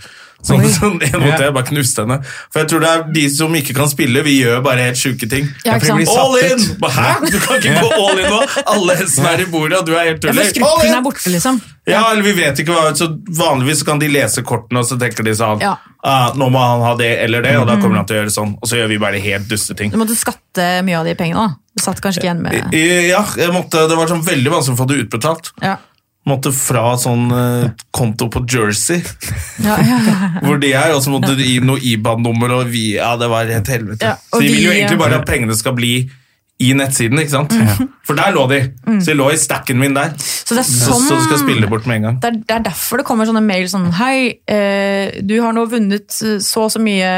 Speaker 1: Sånn, sånn en mot en. Jeg bare knuste henne. For jeg tror det er de som ikke kan spille, vi gjør bare helt sjuke ting.
Speaker 3: Ja, ikke sant?
Speaker 2: blir
Speaker 1: All
Speaker 2: satt
Speaker 1: in!
Speaker 2: ut.
Speaker 1: Ba, Hæ? Du kan ikke gå all in nå! Alle hestene er i bordet, og du er helt
Speaker 3: Ja, for
Speaker 1: tuller. All
Speaker 3: skrukken er
Speaker 1: in!
Speaker 3: borte, liksom.
Speaker 1: Ja, eller vi vet ikke hva, så Vanligvis så kan de lese kortene, og så tenker de sånn
Speaker 3: Ja. Mm.
Speaker 1: ah, Nå må han ha det eller det, og da kommer han til å gjøre sånn. Og så gjør vi bare helt dusteting.
Speaker 3: Du måtte skatte mye av de pengene. da. Du satt kanskje ikke igjen med
Speaker 1: I- Ja, jeg måtte, det var sånn veldig vanskelig å få det utbetalt.
Speaker 3: Ja,
Speaker 1: Måtte fra sånn eh, konto på Jersey,
Speaker 3: ja, ja.
Speaker 1: hvor de er, og så måtte de gi noe IBAN-nummer, og vi, ja, det var et helvete.
Speaker 3: Ja,
Speaker 1: så
Speaker 3: og
Speaker 1: de vil jo
Speaker 3: vi, eh,
Speaker 1: egentlig bare at pengene skal bli i nettsiden, ikke sant? For der lå de. Så de lå i stacken min der.
Speaker 3: Så det er Mm.
Speaker 1: Så,
Speaker 3: sånn
Speaker 1: så du skal spille bort med en gang.
Speaker 3: det er, det er derfor det kommer sånne mail sånn Hei, eh, du har nå vunnet eh, så og så mye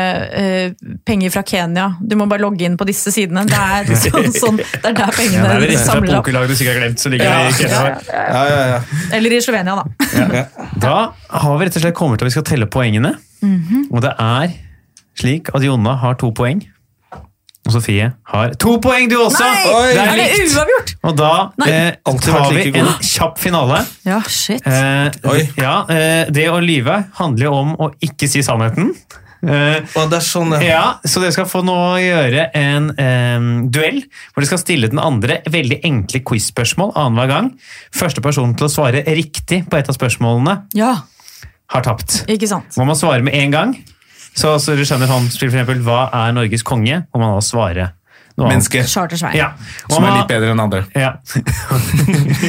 Speaker 3: eh, penger fra Kenya. Du må bare logge inn på disse sidene. Det er, sånn, sånn, det er der
Speaker 2: Ja,
Speaker 3: pengene
Speaker 2: det er det rett fra
Speaker 3: samler opp.
Speaker 2: pokerlag du sikkert har glemt. Så ligger
Speaker 1: Ja.
Speaker 2: det i kjelleren.
Speaker 1: Ja, ja, ja.
Speaker 3: Eller i Slovenia, da.
Speaker 2: Da har vi rett og slett kommet til at vi skal telle poengene. Og det er slik at Jonna har to poeng. Og Sofie har to poeng, du også!
Speaker 1: Oi!
Speaker 2: Det er
Speaker 3: Er det
Speaker 2: likt.
Speaker 3: uavgjort?
Speaker 2: Og da
Speaker 3: Nei.
Speaker 2: eh,
Speaker 1: Alltid
Speaker 2: tar
Speaker 1: vært
Speaker 2: vi
Speaker 1: like
Speaker 2: en
Speaker 1: god.
Speaker 2: kjapp finale.
Speaker 3: Ja, shit.
Speaker 2: Eh,
Speaker 1: Oi.
Speaker 2: ja, eh, det å lyve handler jo om å ikke si sannheten. Eh,
Speaker 1: Å, det er sånn, ja.
Speaker 2: ja, så dere skal få nå gjøre en em, duell, hvor dere skal stille den andre veldig enkle quiz-spørsmål annenhver gang. Første person til å svare riktig på et av spørsmålene
Speaker 3: Ja,
Speaker 2: har tapt.
Speaker 3: ikke sant.
Speaker 2: Må man svare med en gang, så, så du skjønner sånn, for eksempel, hva er Norges konge? Må man da svare noe annet.
Speaker 1: Menneske
Speaker 3: Chartersveien.
Speaker 2: Ja. Og
Speaker 1: som er
Speaker 2: man-
Speaker 1: litt bedre enn andre.
Speaker 2: Ja.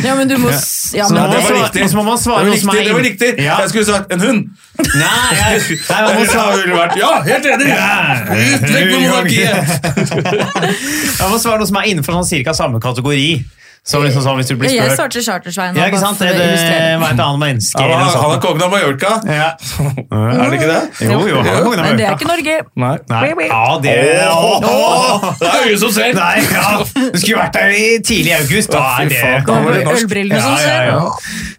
Speaker 3: Ja, men du må s- ja,
Speaker 2: Så
Speaker 3: men altså,
Speaker 2: det
Speaker 3: det-
Speaker 1: Ja,
Speaker 2: var riktig. så må man svare
Speaker 1: det var
Speaker 2: noe som
Speaker 1: riktig,
Speaker 2: er-
Speaker 1: det var riktig.
Speaker 2: Ja.
Speaker 1: Jeg skulle sagt en hund.
Speaker 2: Nei, jeg, nei, man må
Speaker 1: Eller
Speaker 2: svare
Speaker 1: har det vært Ja, helt enig! Ut vekk med monarkiet!
Speaker 2: Jeg må svare noe som er innenfor sånn cirka samme kategori. Så liksom sånn hvis du blir
Speaker 3: Jeg
Speaker 2: spurt
Speaker 3: starter Chartersveien.
Speaker 2: Ja,
Speaker 3: nå,
Speaker 2: ikke
Speaker 3: bare
Speaker 2: sant?
Speaker 3: for å
Speaker 2: Er det
Speaker 3: illustrere.
Speaker 2: hva er et annet menneske
Speaker 1: Han
Speaker 2: eller
Speaker 1: er- han er
Speaker 2: noe sånt?
Speaker 1: kongen av Mallorca.
Speaker 2: Ja.
Speaker 1: Er det ikke det?
Speaker 2: Jo, jo, han er kongen av
Speaker 3: Men det er
Speaker 2: Mallorca.
Speaker 3: ikke Norge.
Speaker 1: Nei.
Speaker 2: Nei. Ja, det
Speaker 1: Åh, Det er ingen som ser!
Speaker 2: Nei, ja. Du skulle vært der i tidlig august. Da
Speaker 1: Å,
Speaker 2: er
Speaker 1: fy
Speaker 2: det
Speaker 1: faen.
Speaker 3: Det
Speaker 1: Da
Speaker 3: er
Speaker 1: var det norsk.
Speaker 3: Ølbrillene som
Speaker 2: ja,
Speaker 3: ser.
Speaker 2: ja.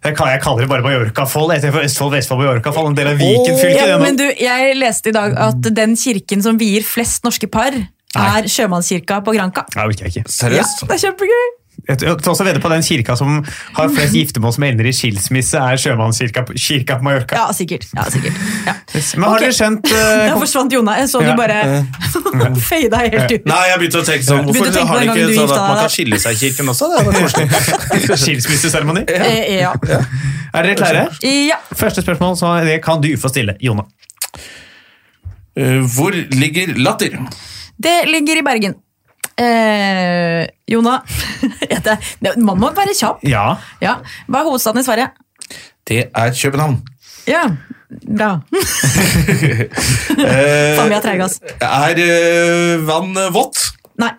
Speaker 2: Jeg, kaller, jeg kaller det bare Mallorca-fold. Jeg for Østfold, Vestfold, Mallorca-fold. En del av Viken fylke.
Speaker 3: Ja,
Speaker 2: det nå.
Speaker 3: men du, jeg leste i dag at den kirken som vier flest norske par, er sjømannskirka på Granka.
Speaker 2: Nei, det orker jeg ikke.
Speaker 3: Ja,
Speaker 1: Seriøst?
Speaker 3: det er kjempegøy!
Speaker 2: Jeg tar også vedde på den kirka som har flest giftermål som ender i skilsmisse, er sjømannskirka på- kirka på Mallorca.
Speaker 3: Ja, sikkert. Ja, sikkert. Ja.
Speaker 2: Men har
Speaker 3: Ok.
Speaker 2: dere skjønt eh,
Speaker 3: Der forsvant Jonna. Jeg så
Speaker 2: Ja.
Speaker 3: du bare fada helt ut.
Speaker 1: Nei, jeg begynte å tenke sånn Hvorfor
Speaker 3: Begynte å tenke på
Speaker 1: har de
Speaker 3: den
Speaker 1: ikke
Speaker 3: gangen du
Speaker 1: sånn at
Speaker 3: gifta
Speaker 1: man
Speaker 3: deg,
Speaker 1: kan skille seg i kirken også? Det hadde vært koselig.
Speaker 2: skilsmisseseremoni?
Speaker 3: Eh, Ja.
Speaker 2: Er dere klare?
Speaker 3: ja.
Speaker 2: Første spørsmål så det kan du få stille, Jonna.
Speaker 1: Eh, Hvor ligger latter?
Speaker 3: Det ligger i Bergen. Eh, Jonna Ja, det- det- Man må være kjapp.
Speaker 2: Ja.
Speaker 3: Ja. Hva er hovedstaden i Sverige?
Speaker 1: Det er København.
Speaker 3: Ja, bra.
Speaker 1: Eh,
Speaker 3: Faen, vi er treige, ass.
Speaker 1: Er eh, vann eh, vått?
Speaker 3: Nei.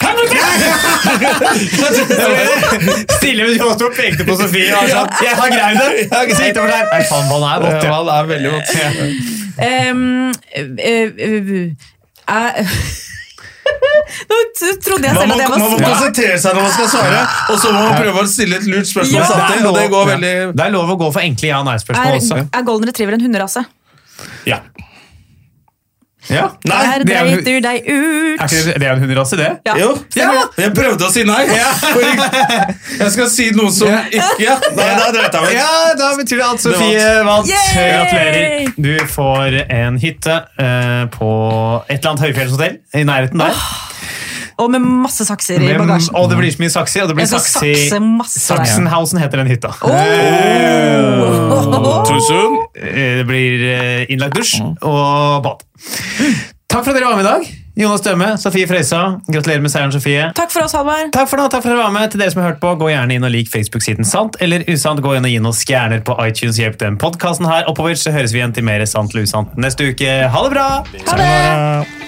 Speaker 2: Stille, men du kan også peke på Sofie. og sånn, Jeg har greid det! Jeg har ikke sett over der. Nei, faen, vann er vått, ja.
Speaker 1: Vann er veldig vått.
Speaker 3: Ehm, eh, eh, eh, Nå t- trodde jeg
Speaker 1: Man
Speaker 3: selv
Speaker 1: må,
Speaker 3: at jeg var
Speaker 1: man må
Speaker 3: smart.
Speaker 1: konsentrere seg når man skal svare, og så må man prøve å stille et lurt spørsmål
Speaker 3: Ja.
Speaker 1: samtidig. Og det går veldig
Speaker 2: det er lov å gå for enkle ja- og nei-spørsmål også.
Speaker 3: Er, er golden retriever en hunderase?
Speaker 1: ja.
Speaker 2: Ja.
Speaker 1: Nei,
Speaker 2: det
Speaker 3: Der
Speaker 2: er
Speaker 3: dreit
Speaker 2: hun-
Speaker 3: du deg ut.
Speaker 2: Er ikke det, det er en hunderase, det?
Speaker 3: Ja.
Speaker 1: Jo,
Speaker 3: Ja.
Speaker 1: jeg prøvde å si nei. For jeg- Jeg skal si noe som ikke Nei, da dreit jeg meg ut.
Speaker 2: Ja, da betyr det at Sofie vant.
Speaker 3: Yay!
Speaker 2: Gratulerer. Du får en hytte eh, på et eller annet høyfjellshotell i nærheten der.
Speaker 3: Og med masse sakser i
Speaker 2: Med-
Speaker 3: bagasjen.
Speaker 2: og det blir så mye sakser. Og det blir
Speaker 3: Jeg skal
Speaker 2: saksi-
Speaker 3: sakse masse der.
Speaker 2: Saksenhausen heter den hytta.
Speaker 3: Åh!
Speaker 1: soon.
Speaker 2: Eh, Det blir eh, innlagt dusj og bad. Takk for at dere var med i dag. Jonas Dømme, Sofie Frøysa. Gratulerer med seieren, Sofie.
Speaker 3: Takk for oss, Halvard.
Speaker 2: Takk for nå, takk for at dere var med. Til dere som har hørt på, gå gjerne inn og lik Facebook-siden Sant eller Usant. Gå inn og gi noen stjerner på iTunes. Hjelp den podkasten her oppover, så høres vi igjen til mer Sant eller Usant neste uke. Ha det bra! Ha
Speaker 3: Ha det!
Speaker 2: det.